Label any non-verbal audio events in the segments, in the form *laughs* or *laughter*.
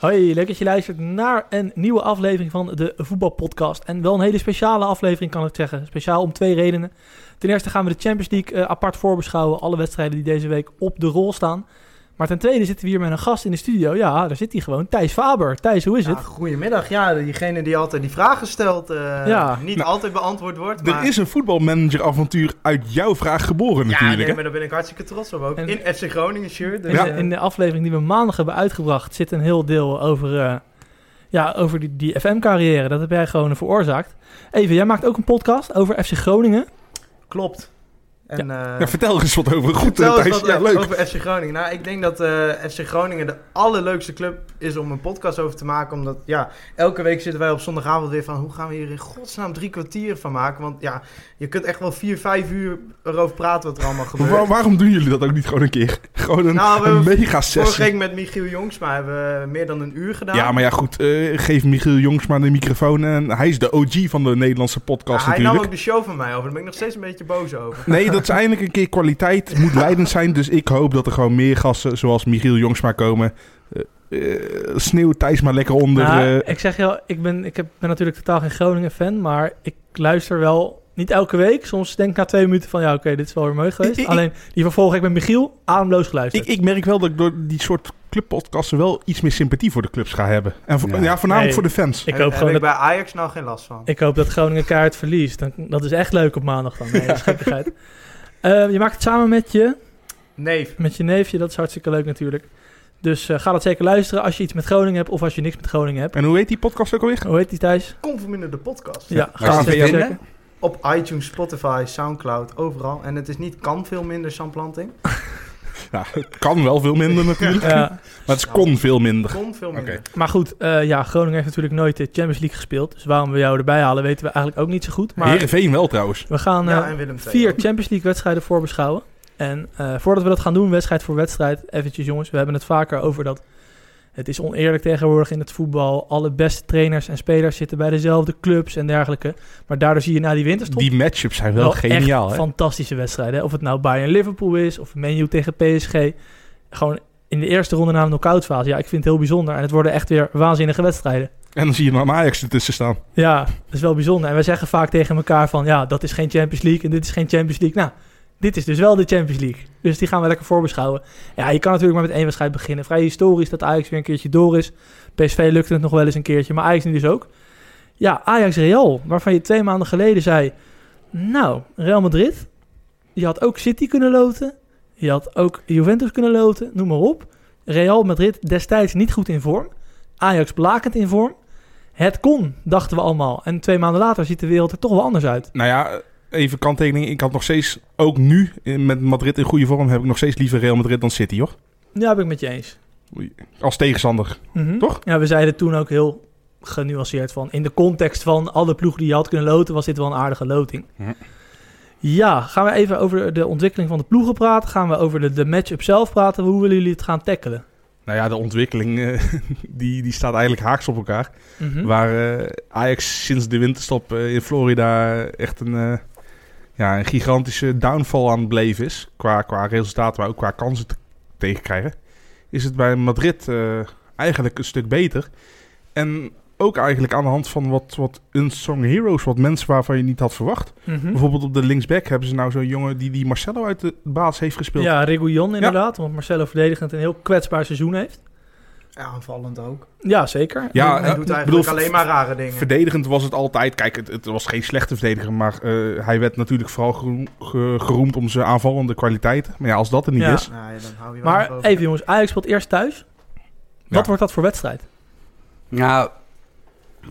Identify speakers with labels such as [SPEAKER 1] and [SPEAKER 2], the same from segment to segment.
[SPEAKER 1] Hoi, leuk dat je luistert naar een nieuwe aflevering van de Voetbalpodcast. En wel een hele speciale aflevering kan ik zeggen. Speciaal om twee redenen. Ten eerste gaan we de Champions League eh, apart voorbeschouwen. Alle wedstrijden die deze week op de rol staan. Maar ten tweede zitten we hier met een gast in de studio. Ja, daar zit hij gewoon. Thijs Faber. Thijs, hoe is
[SPEAKER 2] Ja,
[SPEAKER 1] het?
[SPEAKER 2] goedemiddag. Ja, diegene die altijd die vragen stelt, eh,
[SPEAKER 1] Ja.
[SPEAKER 2] niet
[SPEAKER 3] Nou,
[SPEAKER 2] altijd beantwoord wordt.
[SPEAKER 3] Er
[SPEAKER 2] maar...
[SPEAKER 3] is een voetbalmanager-avontuur uit jouw vraag geboren
[SPEAKER 2] Ja,
[SPEAKER 3] natuurlijk.
[SPEAKER 2] nee,
[SPEAKER 3] hè?
[SPEAKER 2] maar daar ben ik hartstikke trots op ook.
[SPEAKER 1] En-
[SPEAKER 2] In FC Groningen shirt. Dus,
[SPEAKER 1] In, de,
[SPEAKER 2] eh,
[SPEAKER 1] in de aflevering die we maandag hebben uitgebracht zit een heel deel over, eh, ja, over die, die FM-carrière. Dat heb jij gewoon veroorzaakt. Even, jij maakt ook een podcast over FC Groningen.
[SPEAKER 2] Klopt. En, eh,
[SPEAKER 3] Ja, vertel er eens wat over. Goed,
[SPEAKER 2] vertel
[SPEAKER 3] eh,
[SPEAKER 2] eens
[SPEAKER 3] Thijs.
[SPEAKER 2] wat
[SPEAKER 3] Ja, leuk.
[SPEAKER 2] over FC Groningen. Nou, ik denk dat eh, FC Groningen de allerleukste club is om een podcast over te maken. Omdat, ja, elke week zitten wij op zondagavond weer van... hoe gaan we hier in godsnaam drie kwartier van maken? Want ja, je kunt echt wel vier, vijf uur erover praten wat er allemaal
[SPEAKER 3] Maar
[SPEAKER 2] gebeurt.
[SPEAKER 3] waar- waarom doen jullie dat ook niet gewoon een keer? Gewoon een,
[SPEAKER 2] Nou, we
[SPEAKER 3] een
[SPEAKER 2] hebben
[SPEAKER 3] mega
[SPEAKER 2] Vorige
[SPEAKER 3] sessie.
[SPEAKER 2] week met Michiel Jongsma hebben we meer dan een uur gedaan.
[SPEAKER 3] Ja, maar ja, goed. eh, geef Michiel Jongsma de microfoon. En hij is de OG van de Nederlandse podcast
[SPEAKER 2] Ja, hij nam
[SPEAKER 3] natuurlijk.
[SPEAKER 2] ook de show van mij over. Daar ben ik nog steeds een beetje boos over.
[SPEAKER 3] Nee, dat is eindelijk een keer
[SPEAKER 2] *laughs*
[SPEAKER 3] kwaliteit. Het moet leidend zijn. Dus ik hoop dat er gewoon meer gasten zoals Michiel Jongsma komen. Eh, eh, sneeuw Thijs maar lekker onder.
[SPEAKER 1] Nou,
[SPEAKER 3] eh.
[SPEAKER 1] ik zeg jou, ik ben, ik heb, ben natuurlijk totaal geen Groningen-fan, maar ik luister wel niet elke week. Soms denk ik na twee minuten van, ja, oké, dit is wel weer mooi geweest.
[SPEAKER 3] Ik- ik-
[SPEAKER 1] Alleen, die vervolg heb ik met Michiel ademloos geluisterd.
[SPEAKER 3] Ik, ik merk wel dat ik door die soort clubpodcasten wel iets meer sympathie voor de clubs ga hebben. En voor-
[SPEAKER 4] Ja.
[SPEAKER 3] ja. voornamelijk
[SPEAKER 1] Nee.
[SPEAKER 3] voor de fans.
[SPEAKER 1] Ik
[SPEAKER 2] Heb-
[SPEAKER 1] hoop
[SPEAKER 2] heb
[SPEAKER 1] gewoon
[SPEAKER 2] ik
[SPEAKER 1] dat,
[SPEAKER 2] bij Ajax nou geen last van.
[SPEAKER 1] ik hoop dat Groningen kaart verliest. Dan, dat is echt leuk op maandag dan.
[SPEAKER 3] *laughs*
[SPEAKER 1] Nee, dat is gekkigheid. Eh, je maakt het samen met je,
[SPEAKER 2] Nee.
[SPEAKER 1] met je neefje. Dat is hartstikke leuk natuurlijk. Dus eh, ga dat zeker luisteren als je iets met Groningen hebt of als je niks met Groningen hebt.
[SPEAKER 3] En hoe heet die podcast ook alweer?
[SPEAKER 1] Hoe heet die Thijs?
[SPEAKER 2] Conforminder de podcast.
[SPEAKER 1] Ja,
[SPEAKER 3] is
[SPEAKER 1] ga het
[SPEAKER 3] het
[SPEAKER 1] zeker
[SPEAKER 4] vinden?
[SPEAKER 1] checken.
[SPEAKER 2] Op iTunes, Spotify, Soundcloud, overal. En het is niet kan veel minder Samplanting.
[SPEAKER 3] Ja, het kan wel veel *laughs* minder natuurlijk.
[SPEAKER 1] Ja.
[SPEAKER 3] Maar het is kon veel minder.
[SPEAKER 2] Kon veel minder.
[SPEAKER 3] Oké.
[SPEAKER 1] Maar goed, eh, ja, Groningen heeft natuurlijk nooit de Champions League gespeeld. Dus waarom we jou erbij halen, weten we eigenlijk ook niet zo goed. Maar
[SPEAKER 3] Heerenveen wel trouwens.
[SPEAKER 1] we gaan eh,
[SPEAKER 2] Ja, en Willem II
[SPEAKER 1] vier
[SPEAKER 2] ook.
[SPEAKER 1] Champions League wedstrijden voorbeschouwen. En eh, voordat we dat gaan doen, wedstrijd voor wedstrijd, eventjes jongens. We hebben het vaker over dat het is oneerlijk tegenwoordig in het voetbal. Alle beste trainers en spelers zitten bij dezelfde clubs en dergelijke. Maar daardoor zie je na die winterstop
[SPEAKER 3] Die matchups zijn wel,
[SPEAKER 1] echt
[SPEAKER 3] geniaal. Hè?
[SPEAKER 1] fantastische wedstrijden. hè. Of het nou Bayern-Liverpool is of Man U tegen PSG. Gewoon in de eerste ronde na de knock-outfase. Ja, ik vind het heel bijzonder. En het worden echt weer waanzinnige wedstrijden.
[SPEAKER 3] En dan zie je dan Ajax ertussen staan.
[SPEAKER 1] Ja, dat is wel bijzonder. En wij zeggen vaak tegen elkaar van... ja, dat is geen Champions League en dit is geen Champions League. Nou, dit is dus wel de Champions League. Dus die gaan we lekker voorbeschouwen. Ja, je kan natuurlijk maar met één wedstrijd beginnen. Vrij historisch dat Ajax weer een keertje door is. PSV lukte het nog wel eens een keertje, maar Ajax nu dus ook. Ja, Ajax-Real, waarvan je twee maanden geleden zei... nou, Real Madrid, je had ook City kunnen loten. Je had ook Juventus kunnen loten, noem maar op. Real Madrid destijds niet goed in vorm. Ajax blakend in vorm. Het kon, dachten we allemaal. En twee maanden later ziet de wereld er toch wel anders uit.
[SPEAKER 3] Nou ja, even kanttekening. Ik had nog steeds, ook nu eh, met Madrid in goede vorm, heb ik nog steeds liever Real Madrid dan City, hoor.
[SPEAKER 1] Ja, ben ik met je eens.
[SPEAKER 3] Als tegenstander.
[SPEAKER 1] Mhm.
[SPEAKER 3] Toch?
[SPEAKER 1] Ja, we zeiden toen ook heel genuanceerd van... in de context van alle ploegen die je had kunnen loten... was dit wel een aardige loting.
[SPEAKER 3] Ja.
[SPEAKER 1] Ja, gaan we even over de ontwikkeling van de ploegen praten? Gaan we over de, de match-up zelf praten? Hoe willen jullie het gaan tackelen?
[SPEAKER 3] Nou ja, de ontwikkeling eh, *laughs* die, die staat eigenlijk haaks op elkaar.
[SPEAKER 1] Mhm.
[SPEAKER 3] Waar eh, Ajax sinds de winterstop eh, in Florida echt een, eh, ja, een gigantische downfall aan het beleven is. Qua, qua resultaten, maar ook qua kansen te- tegenkrijgen. Is het bij Madrid eh, eigenlijk een stuk beter. En ook eigenlijk aan de hand van wat, wat unsung heroes. Wat mensen waarvan je niet had verwacht.
[SPEAKER 1] Mhm.
[SPEAKER 3] Bijvoorbeeld op de linksback hebben ze nou zo'n jongen die, die Marcelo uit de baas heeft gespeeld.
[SPEAKER 1] Ja, Reguillon inderdaad. Want Marcelo verdedigend een heel kwetsbaar seizoen heeft.
[SPEAKER 2] Ja, aanvallend ook.
[SPEAKER 1] Ja, zeker. Mhm.
[SPEAKER 3] Ja,
[SPEAKER 2] hij
[SPEAKER 3] eh,
[SPEAKER 2] doet
[SPEAKER 3] ik
[SPEAKER 2] eigenlijk
[SPEAKER 3] bedoel,
[SPEAKER 2] alleen maar rare dingen.
[SPEAKER 3] Verdedigend was het altijd. Kijk, het, het was geen slechte verdediger. Maar eh, hij werd natuurlijk vooral gero- ge- geroemd om zijn aanvallende kwaliteiten. Maar ja, als dat er niet
[SPEAKER 1] Ja.
[SPEAKER 3] is.
[SPEAKER 2] Nou ja, dan hou je wel nog
[SPEAKER 1] Maar
[SPEAKER 2] over.
[SPEAKER 1] even jongens, Ajax speelt eerst thuis. Wat
[SPEAKER 3] eh, Ja.
[SPEAKER 1] wordt dat voor wedstrijd?
[SPEAKER 4] Nou,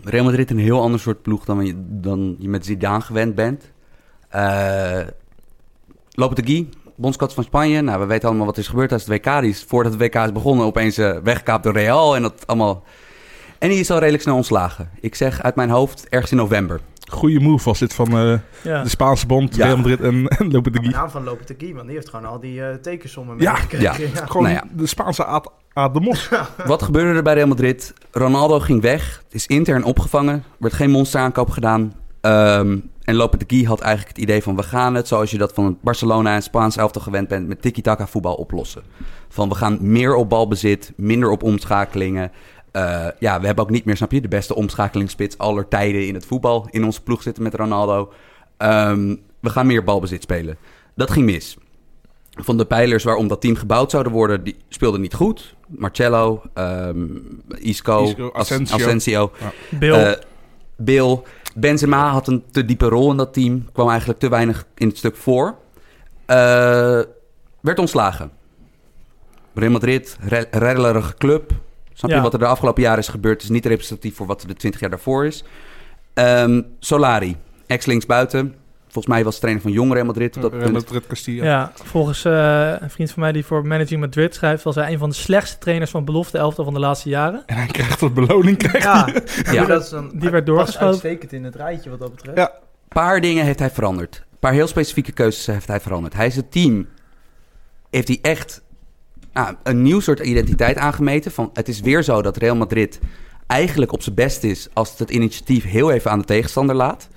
[SPEAKER 4] Real Madrid een heel ander soort ploeg dan je, dan je met Zidane gewend bent. Eh Lopetegui, bondscoach van Spanje. Nou, we weten allemaal wat er is gebeurd als het WK is. Voordat het WK is begonnen, opeens eh, weggekaapt door Real en dat allemaal. En die is al redelijk snel ontslagen. Ik zeg uit mijn hoofd ergens in november.
[SPEAKER 3] Goede move was dit van eh,
[SPEAKER 1] Ja.
[SPEAKER 3] de Spaanse bond,
[SPEAKER 4] Ja.
[SPEAKER 3] Real Madrid en, en Lopetegui.
[SPEAKER 2] De naam van Lopen Kie, want die heeft gewoon al die eh, tekensommen
[SPEAKER 3] Ja,
[SPEAKER 2] meegekregen. Ja.
[SPEAKER 3] Gewoon
[SPEAKER 4] Nou ja.
[SPEAKER 3] de Spaanse Aad, Aad de Mos.
[SPEAKER 4] Wat gebeurde er bij Real Madrid? Ronaldo ging weg, is intern opgevangen, werd geen monsteraankoop gedaan. Ehm en Lopetegui had eigenlijk het idee van we gaan het zoals je dat van het Barcelona en Spaans elftal gewend bent met tiki-taka voetbal oplossen. Van we gaan meer op balbezit, minder op omschakelingen. Eh, eh, ja, we hebben ook niet meer, snap je, de beste omschakelingsspits aller tijden in het voetbal in onze ploeg zitten met Ronaldo. Ehm, we gaan meer balbezit spelen. Dat ging mis. Van de pijlers waarom dat team gebouwd zouden worden, die speelden niet goed. Marcello, ehm, Isco,
[SPEAKER 3] Isco,
[SPEAKER 4] As-
[SPEAKER 3] Asensio.
[SPEAKER 4] Asensio.
[SPEAKER 1] Bill,
[SPEAKER 4] Eh, Bill. Benzema had een te diepe rol in dat team. Kwam eigenlijk te weinig in het stuk voor. Eh, werd ontslagen. Real Madrid, re- reddelerige club. Snap je
[SPEAKER 1] Ja.
[SPEAKER 4] wat er de afgelopen jaren is gebeurd? is niet representatief voor wat er de 20 jaar daarvoor is. Ehm, Solari, ex-linksbuiten. Volgens mij was trainer van jong Real Madrid op dat
[SPEAKER 3] Real
[SPEAKER 4] punt.
[SPEAKER 3] Madrid Castilla.
[SPEAKER 1] ja. volgens eh, een vriend van mij die voor Managing Madrid schrijft, was hij een van de slechtste trainers van belofte elftal van de laatste jaren.
[SPEAKER 3] En hij krijgt wat beloning.
[SPEAKER 2] *laughs*
[SPEAKER 3] Krijgt.
[SPEAKER 2] Ja,
[SPEAKER 4] Ja.
[SPEAKER 2] maar dat is dan,
[SPEAKER 1] Die
[SPEAKER 2] hij
[SPEAKER 1] werd
[SPEAKER 2] past
[SPEAKER 1] doorgeschoven.
[SPEAKER 2] uitstekend in het rijtje wat dat betreft.
[SPEAKER 3] Ja.
[SPEAKER 4] paar dingen heeft hij veranderd. Een paar heel specifieke keuzes heeft hij veranderd. Hij is het team. Heeft hij echt ah, een nieuw soort identiteit aangemeten? Van, het is weer zo dat Real Madrid eigenlijk op zijn best is als het het initiatief heel even aan de tegenstander laat.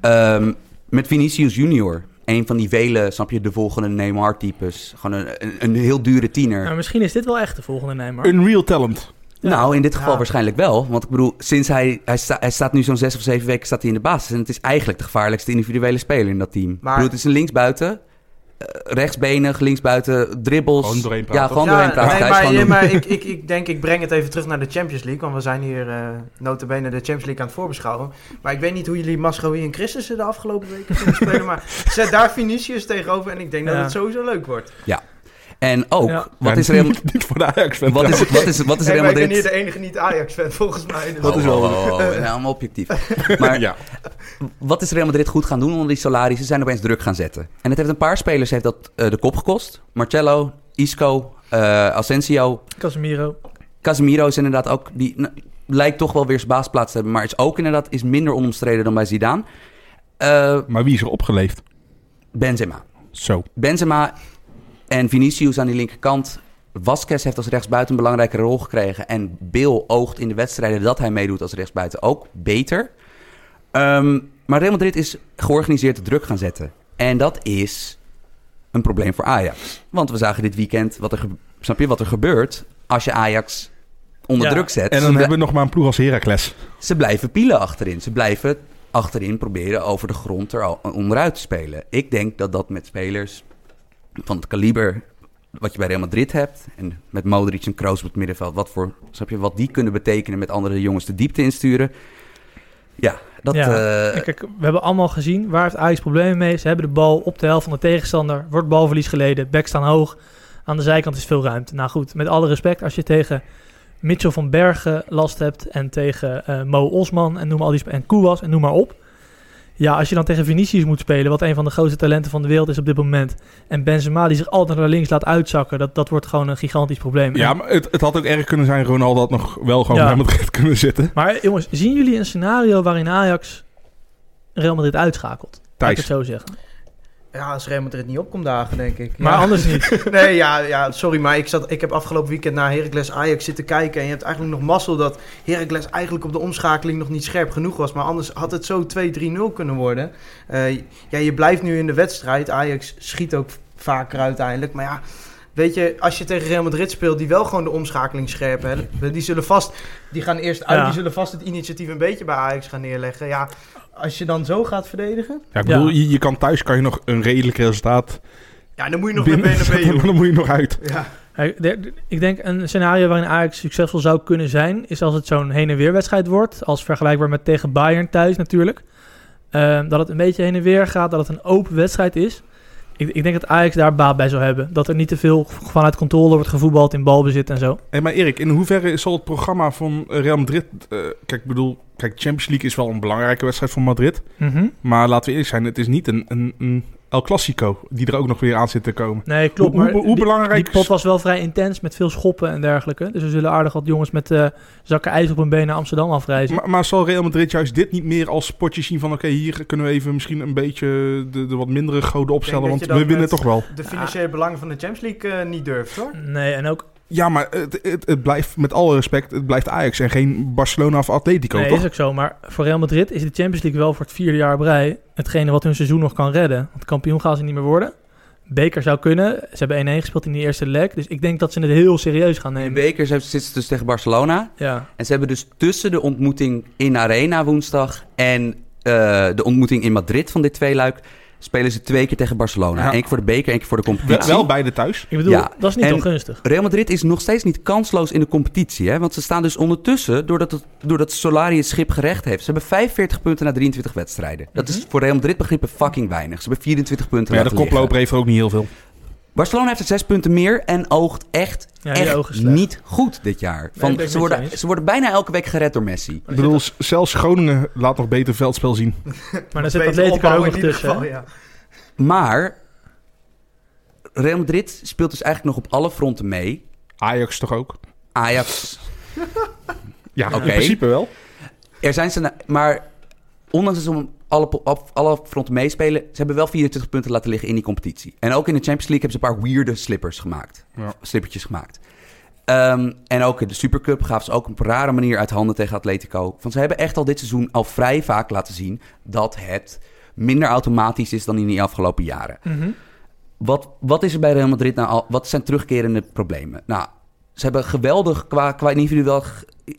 [SPEAKER 4] Ehm, met Vinicius Junior. Een van die vele, snap je, de volgende Neymar-types. Gewoon een, een, een heel dure tiener.
[SPEAKER 1] Maar misschien is dit wel echt de volgende Neymar.
[SPEAKER 3] Unreal talent.
[SPEAKER 1] Ja.
[SPEAKER 4] Nou, in dit geval
[SPEAKER 2] Ja.
[SPEAKER 4] waarschijnlijk wel. Want ik bedoel, sinds hij, hij, sta- hij staat nu zo'n zes of zeven weken staat hij in de basis. En het is eigenlijk de gevaarlijkste individuele speler in dat team. Ik bedoel, het is een linksbuiten. eh, rechtsbenig, linksbuiten, dribbels.
[SPEAKER 3] Gewoon doorheen praten.
[SPEAKER 4] ja, gewoon
[SPEAKER 2] Ja,
[SPEAKER 4] doorheen praten.
[SPEAKER 2] nee,
[SPEAKER 4] Hij is
[SPEAKER 2] maar,
[SPEAKER 4] gewoon
[SPEAKER 2] nee,
[SPEAKER 4] een-
[SPEAKER 2] maar
[SPEAKER 4] *laughs*
[SPEAKER 2] ik, ik, ik denk, ik breng het even terug naar de Champions League. Want we zijn hier eh notabene de Champions League aan het voorbeschouwen. Maar ik weet niet hoe jullie Mascowie en Christensen de afgelopen weken
[SPEAKER 4] *laughs*
[SPEAKER 2] vinden spelen. Maar zet daar Vinicius tegenover en ik denk dat
[SPEAKER 1] Ja.
[SPEAKER 2] het sowieso leuk wordt.
[SPEAKER 4] En ook,
[SPEAKER 1] Ja.
[SPEAKER 3] Ja,
[SPEAKER 4] wat, is Real, wat,
[SPEAKER 3] *laughs* Niet voor de ajax fan
[SPEAKER 4] is, wat, is, wat is
[SPEAKER 2] Hey,
[SPEAKER 4] Real
[SPEAKER 2] maar ik ben hier
[SPEAKER 4] Madrid?
[SPEAKER 2] de enige niet-Ajax-fan volgens mij. Dus-
[SPEAKER 4] Oh, oh, oh, oh, we *laughs* zijn allemaal objectief. Maar
[SPEAKER 3] ja.
[SPEAKER 4] wat is Real Madrid goed gaan doen onder die salarissen? Ze zijn opeens druk gaan zetten. En het heeft een paar spelers heeft dat, eh, de kop gekost. Marcello, Isco, eh, Asensio,
[SPEAKER 1] Casemiro.
[SPEAKER 4] Casemiro is inderdaad ook... Die nou, lijkt toch wel weer zijn baasplaats te hebben. Maar is ook inderdaad is minder onomstreden dan bij Zidane. Eh,
[SPEAKER 3] Maar wie is er opgeleefd?
[SPEAKER 4] Benzema.
[SPEAKER 3] Zo.
[SPEAKER 4] Benzema en Vinicius aan die linkerkant. Vasquez heeft als rechtsbuiten een belangrijke rol gekregen. En Bill oogt in de wedstrijden dat hij meedoet als rechtsbuiten ook beter. Ehm, maar Real Madrid is georganiseerd druk gaan zetten. En dat is een probleem voor Ajax. Want we zagen dit weekend, wat er, gebe- snap je wat er gebeurt als je Ajax onder
[SPEAKER 1] Ja,
[SPEAKER 4] druk zet?
[SPEAKER 3] En
[SPEAKER 4] Ze
[SPEAKER 3] dan
[SPEAKER 4] bl-
[SPEAKER 3] hebben we nog maar een ploeg als Heracles.
[SPEAKER 4] ze blijven pielen achterin. Ze blijven achterin proberen over de grond er al- onderuit te spelen. Ik denk dat dat met spelers van het kaliber wat je bij Real Madrid hebt... en met Modric en Kroos op het middenveld... wat, voor, snap je, wat die kunnen betekenen met andere jongens de diepte insturen... Ja, dat...
[SPEAKER 1] Ja,
[SPEAKER 4] eh,
[SPEAKER 1] En Kijk, we hebben allemaal gezien waar heeft Ajax problemen mee. Ze hebben de bal op de helft van de tegenstander. Wordt balverlies geleden. Bek staan hoog. Aan de zijkant is veel ruimte. Nou goed, met alle respect, als je tegen Mitchell van Bergen last hebt en tegen eh, Mo Osman en noem al die sp- en Kouwas en noem maar op. Ja, als je dan tegen Vinicius moet spelen, wat een van de grootste talenten van de wereld is op dit moment. En Benzema die zich altijd naar links laat uitzakken, dat, dat wordt gewoon een gigantisch probleem.
[SPEAKER 3] Ja,
[SPEAKER 1] En-
[SPEAKER 3] maar het, het had ook erg kunnen zijn. Ronaldo had nog wel gewoon
[SPEAKER 1] Ja.
[SPEAKER 3] bij Madrid kunnen zitten.
[SPEAKER 1] maar jongens, zien jullie een scenario waarin Ajax Real Madrid uitschakelt? Laat ik het
[SPEAKER 3] Thijs.
[SPEAKER 1] zo zeggen.
[SPEAKER 2] Ja, als Real Madrid niet op komt dagen, denk ik.
[SPEAKER 1] Maar
[SPEAKER 2] Ja.
[SPEAKER 1] anders niet.
[SPEAKER 2] Nee, ja, ja, sorry, maar ik, zat, ik heb afgelopen weekend naar Heracles Ajax zitten kijken. En je hebt eigenlijk nog mazzel dat Heracles eigenlijk op de omschakeling nog niet scherp genoeg was. Maar anders had het zo 2-3-0 kunnen worden. Eh, ja, je blijft nu in de wedstrijd. Ajax schiet ook vaker uiteindelijk. Maar ja, weet je, als je tegen Real Madrid speelt, die wel gewoon de omschakeling scherp hebben. Die zullen vast, die gaan eerst uit,
[SPEAKER 1] Ja.
[SPEAKER 2] die zullen vast het initiatief een beetje bij Ajax gaan neerleggen. Ja, als je dan zo gaat verdedigen,
[SPEAKER 3] Ja, ik bedoel,
[SPEAKER 1] Ja.
[SPEAKER 3] Je, je kan thuis kan je nog een redelijk resultaat
[SPEAKER 2] ja, dan moet je nog met
[SPEAKER 3] binnen. *laughs*
[SPEAKER 2] benen mee.
[SPEAKER 3] maar
[SPEAKER 2] joh.
[SPEAKER 3] dan moet je nog uit.
[SPEAKER 2] Ja.
[SPEAKER 1] Hey, de- de- Ik denk een scenario waarin Ajax succesvol zou kunnen zijn, is als het zo'n heen en weer wedstrijd wordt, als vergelijkbaar met tegen Bayern thuis natuurlijk. Ehm, dat het een beetje heen en weer gaat, dat het een open wedstrijd is. Ik, ik denk dat Ajax daar baat bij zou hebben. Dat er niet te veel vanuit controle wordt gevoetbald in balbezit en zo.
[SPEAKER 3] Hey, maar Erik, in hoeverre zal het programma van eh, Real Madrid... eh, kijk, ik bedoel, kijk, Champions League is wel een belangrijke wedstrijd voor Madrid. Maar laten we eerlijk zijn, het is niet een, een, een El Clasico die er ook nog weer aan zit te komen.
[SPEAKER 1] Nee, klopt.
[SPEAKER 3] hoe,
[SPEAKER 1] maar
[SPEAKER 3] hoe, hoe
[SPEAKER 1] die-
[SPEAKER 3] belangrijk...
[SPEAKER 1] Die pot was wel vrij intens met veel schoppen en dergelijke. Dus er zullen aardig wat jongens met eh, zakken ijs op hun been naar Amsterdam afreizen.
[SPEAKER 3] Maar, maar zal Real Madrid juist dit niet meer als potje zien van... oké, hier kunnen we even misschien een beetje de, de wat mindere goden opstellen...
[SPEAKER 2] dat
[SPEAKER 3] want
[SPEAKER 2] je
[SPEAKER 3] we
[SPEAKER 2] dan
[SPEAKER 3] winnen
[SPEAKER 2] met-
[SPEAKER 3] toch wel.
[SPEAKER 2] De financiële belangen van de Champions League eh, niet durft, hoor.
[SPEAKER 1] Nee, en ook
[SPEAKER 3] Ja, maar het, het, het blijft, met alle respect, het blijft Ajax en geen Barcelona of Atletico,
[SPEAKER 1] nee,
[SPEAKER 3] toch?
[SPEAKER 1] is ook zo. Maar voor Real Madrid is de Champions League wel voor het vierde jaar op rij hetgene wat hun seizoen nog kan redden. Want kampioen gaan ze niet meer worden. beker zou kunnen. Ze hebben 1-1 gespeeld in die eerste leg. Dus ik denk dat ze het heel serieus gaan
[SPEAKER 4] In
[SPEAKER 1] nemen.
[SPEAKER 4] de bekers hebben- zitten ze dus tegen Barcelona.
[SPEAKER 1] Ja,
[SPEAKER 4] En ze hebben dus tussen de ontmoeting in Arena woensdag en eh, de ontmoeting in Madrid van dit tweeluik... spelen ze twee keer tegen Barcelona.
[SPEAKER 3] Ja.
[SPEAKER 4] Eén keer voor de beker, één keer voor de
[SPEAKER 3] Wel,
[SPEAKER 4] competitie.
[SPEAKER 3] wel beide thuis.
[SPEAKER 1] ik bedoel,
[SPEAKER 4] Ja,
[SPEAKER 1] dat is niet
[SPEAKER 4] en-
[SPEAKER 1] ongunstig.
[SPEAKER 4] Real Madrid is nog steeds niet kansloos in de competitie. Hè? Want ze staan dus ondertussen, doordat, het, doordat Solari het schip gerecht heeft. Ze hebben 45 punten na 23 wedstrijden. Dat
[SPEAKER 1] Mhm.
[SPEAKER 4] is voor Real Madrid begrippen fucking weinig. Ze hebben 24 punten
[SPEAKER 3] Maar ja, de
[SPEAKER 4] laten liggen.
[SPEAKER 3] koploper heeft er ook niet heel veel.
[SPEAKER 4] Barcelona heeft er 6 punten meer en oogt echt,
[SPEAKER 1] Ja, die ogen
[SPEAKER 4] echt
[SPEAKER 1] slecht.
[SPEAKER 4] niet goed dit jaar. Van,
[SPEAKER 1] ben ik met
[SPEAKER 4] ze,
[SPEAKER 1] je
[SPEAKER 4] worden,
[SPEAKER 1] eens.
[SPEAKER 4] ze worden bijna elke week gered door Messi.
[SPEAKER 3] Ik bedoel, s- zelfs Groningen laat nog beter veldspel zien.
[SPEAKER 1] Maar dan zit
[SPEAKER 2] Beter
[SPEAKER 1] Atletico er ook
[SPEAKER 2] opbouwen
[SPEAKER 1] nog
[SPEAKER 2] in ieder
[SPEAKER 1] tussen. hè?
[SPEAKER 2] geval, ja.
[SPEAKER 4] Maar Real Madrid speelt dus eigenlijk nog op alle fronten mee.
[SPEAKER 3] Ajax toch ook?
[SPEAKER 4] Ajax
[SPEAKER 3] Ja,
[SPEAKER 4] Oké.
[SPEAKER 3] in principe wel.
[SPEAKER 4] Er zijn ze, na- maar ondanks dat ze om alle, po- op, alle fronten meespelen, ze hebben wel 24 punten laten liggen in die competitie. En ook in de Champions League hebben ze een paar weirde slippers gemaakt.
[SPEAKER 3] Ja.
[SPEAKER 4] Slippertjes gemaakt. Ehm, en ook in de Supercup gaven ze ook op een rare manier uit handen tegen Atletico. Want ze hebben echt al dit seizoen al vrij vaak laten zien dat het minder automatisch is dan in die afgelopen jaren.
[SPEAKER 1] Mhm.
[SPEAKER 4] Wat, wat is er bij Real Madrid nou al? Wat zijn terugkerende problemen? Nou, ze hebben geweldig qua, qua individueel,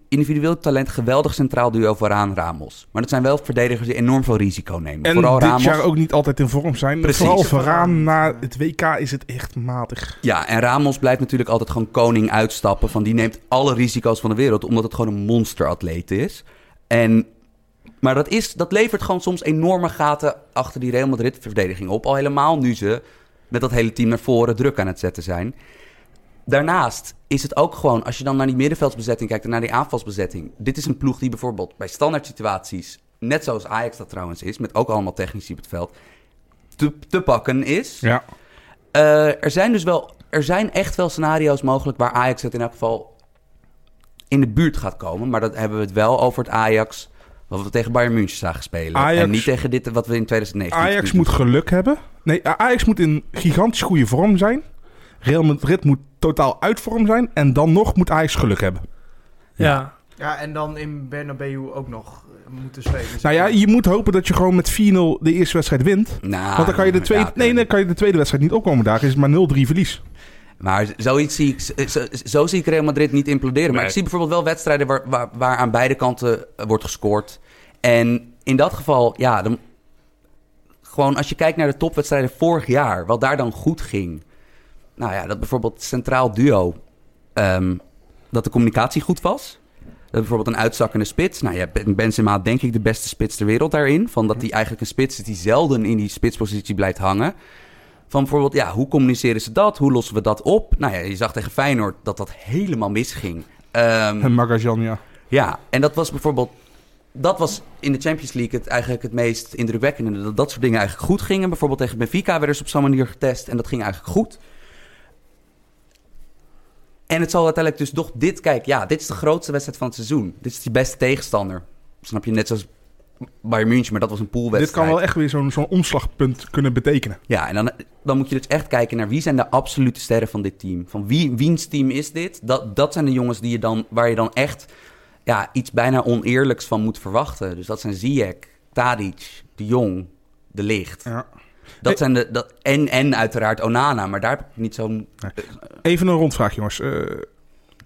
[SPEAKER 4] individueel talent geweldig centraal duo vooraan Ramos. Maar dat zijn wel verdedigers die enorm veel risico nemen.
[SPEAKER 3] En
[SPEAKER 4] Vooral
[SPEAKER 3] dit
[SPEAKER 4] Ramos.
[SPEAKER 3] jaar ook niet altijd in vorm zijn.
[SPEAKER 4] Precies.
[SPEAKER 3] Vooral vooraan na het WK is het echt matig.
[SPEAKER 4] Ja, en Ramos blijft natuurlijk altijd gewoon koning uitstappen. Van die neemt alle risico's van de wereld, omdat het gewoon een monsteratleet is. En, maar dat, is, dat levert gewoon soms enorme gaten achter die Real Madrid-verdediging op. Al helemaal nu ze met dat hele team naar voren druk aan het zetten zijn. Daarnaast is het ook gewoon, als je dan naar die middenveldsbezetting kijkt en naar die aanvalsbezetting. Dit is een ploeg die bijvoorbeeld bij standaard situaties, net zoals Ajax dat trouwens is, met ook allemaal technici op het veld, te, te pakken is.
[SPEAKER 3] Ja.
[SPEAKER 4] Eh, er zijn dus wel, er zijn echt wel scenario's mogelijk waar Ajax het in elk geval in de buurt gaat komen. Maar dat hebben we het wel over het Ajax wat we tegen Bayern München zagen spelen.
[SPEAKER 3] Ajax-
[SPEAKER 4] en niet tegen dit wat we in 2019
[SPEAKER 3] Ajax
[SPEAKER 4] doen.
[SPEAKER 3] moet geluk hebben. Nee, Ajax moet in gigantisch goede vorm zijn. Real Madrid moet totaal uit vorm zijn. En dan nog moet Ajax geluk hebben.
[SPEAKER 1] Ja,
[SPEAKER 2] Ja, en dan in Bernabeu ook nog eh, moeten spelen.
[SPEAKER 3] Nou ja, je moet hopen dat je gewoon met 4-0 de eerste wedstrijd wint.
[SPEAKER 4] Nou,
[SPEAKER 3] Want dan kan je de tweede,
[SPEAKER 4] ja,
[SPEAKER 3] nee, dan kan je de tweede wedstrijd niet opkomen. Daar is het maar 0-3 verlies.
[SPEAKER 4] Maar zoiets zie ik, zo- zo, zo zie ik Real Madrid niet imploderen. Maar
[SPEAKER 3] Nee.
[SPEAKER 4] ik zie bijvoorbeeld wel wedstrijden waar, waar, waar aan beide kanten eh, wordt gescoord. En in dat geval, ja, dan, gewoon als je kijkt naar de topwedstrijden vorig jaar, wat daar dan goed ging. Nou ja, dat bijvoorbeeld centraal duo, ehm, dat de communicatie goed was. Dat bijvoorbeeld een uitzakkende spits. Nou ja, Ben- Benzema had denk ik de beste spits ter wereld daarin. Van dat hij eigenlijk een spits is die zelden in die spitspositie blijft hangen. Van bijvoorbeeld, ja, hoe communiceren ze dat? Hoe lossen we dat op? Nou ja, je zag tegen Feyenoord dat dat helemaal misging. Ehm,
[SPEAKER 3] En Magajan, ja.
[SPEAKER 4] ja, en dat was bijvoorbeeld... Dat was in de Champions League het, eigenlijk het meest indrukwekkende. Dat dat soort dingen eigenlijk goed gingen. Bijvoorbeeld tegen Benfica werden ze op zo'n manier getest. En dat ging eigenlijk goed. En het zal uiteindelijk dus toch dit... Kijk, ja, dit is de grootste wedstrijd van het seizoen. Dit is die beste tegenstander. Snap je? Net zoals Bayern München, maar dat was een poolwedstrijd.
[SPEAKER 3] Dit kan wel echt weer zo'n zo'n omslagpunt kunnen betekenen.
[SPEAKER 4] Ja, en dan, dan moet je dus echt kijken naar wie zijn de absolute sterren van dit team. Van wie, wiens team is dit? Dat, dat zijn de jongens die je dan, waar je dan echt ja, iets bijna oneerlijks van moet verwachten. Dus dat zijn Ziyech, Tadic, De Jong, De Licht.
[SPEAKER 3] Ja.
[SPEAKER 4] Dat zijn de, dat, en, en uiteraard Onana, maar daar heb ik niet zo'n...
[SPEAKER 3] Even een rondvraag, jongens. Eh,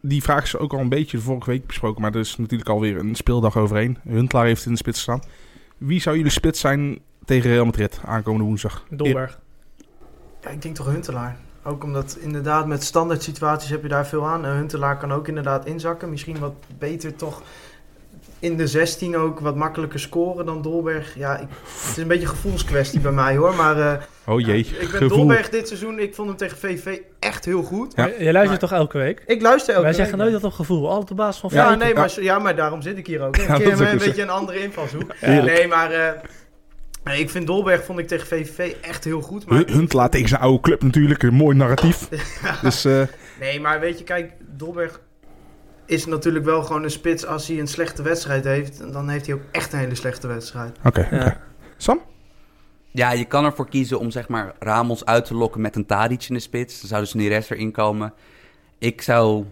[SPEAKER 3] die vraag is ook al een beetje de vorige week besproken. Maar er is natuurlijk alweer een speeldag overheen. Huntelaar heeft in de spits staan. Wie zou jullie spits zijn tegen Real Madrid aankomende woensdag?
[SPEAKER 1] Dolberg.
[SPEAKER 2] Ja, ik denk toch Huntelaar. Ook omdat inderdaad met standaard situaties heb je daar veel aan. En Huntelaar kan ook inderdaad inzakken. Misschien wat beter toch in de 16 ook wat makkelijker scoren dan Dolberg. Ja, ik, het is een beetje een gevoelskwestie bij mij hoor. Maar eh,
[SPEAKER 3] Oh jee,
[SPEAKER 2] ja, ik ben
[SPEAKER 3] gevoel.
[SPEAKER 2] Dolberg dit seizoen. Ik vond hem tegen VV echt heel goed.
[SPEAKER 3] Ja.
[SPEAKER 1] Jij luistert toch elke week?
[SPEAKER 2] Ik luister elke
[SPEAKER 1] Wij
[SPEAKER 2] week
[SPEAKER 1] zeggen nooit dat op gevoel. Altijd op basis van
[SPEAKER 2] Ja,
[SPEAKER 1] feiten.
[SPEAKER 2] nee,
[SPEAKER 3] ja.
[SPEAKER 2] maar, zo- ja, maar daarom zit ik hier ook. Een
[SPEAKER 3] Ja,
[SPEAKER 2] keer
[SPEAKER 3] dat is ook
[SPEAKER 2] een
[SPEAKER 3] zo.
[SPEAKER 2] beetje een andere invalshoek.
[SPEAKER 3] Heerlijk.
[SPEAKER 2] Nee, maar eh, ik vind Dolberg vond ik tegen VVV echt heel goed. Maar
[SPEAKER 3] Hun- Huntelaar tegen zijn oude club natuurlijk. Een mooi narratief. Dus eh,
[SPEAKER 2] Nee, maar weet je, kijk, Dolberg is natuurlijk wel gewoon een spits als hij een slechte wedstrijd heeft. Dan heeft hij ook echt een hele slechte wedstrijd.
[SPEAKER 3] oké. oké.
[SPEAKER 1] Ja.
[SPEAKER 3] Sam?
[SPEAKER 4] Ja, je kan ervoor kiezen om zeg maar Ramos uit te lokken met een Tadic in de spits. Dan zou dus Neres erin komen. Ik zou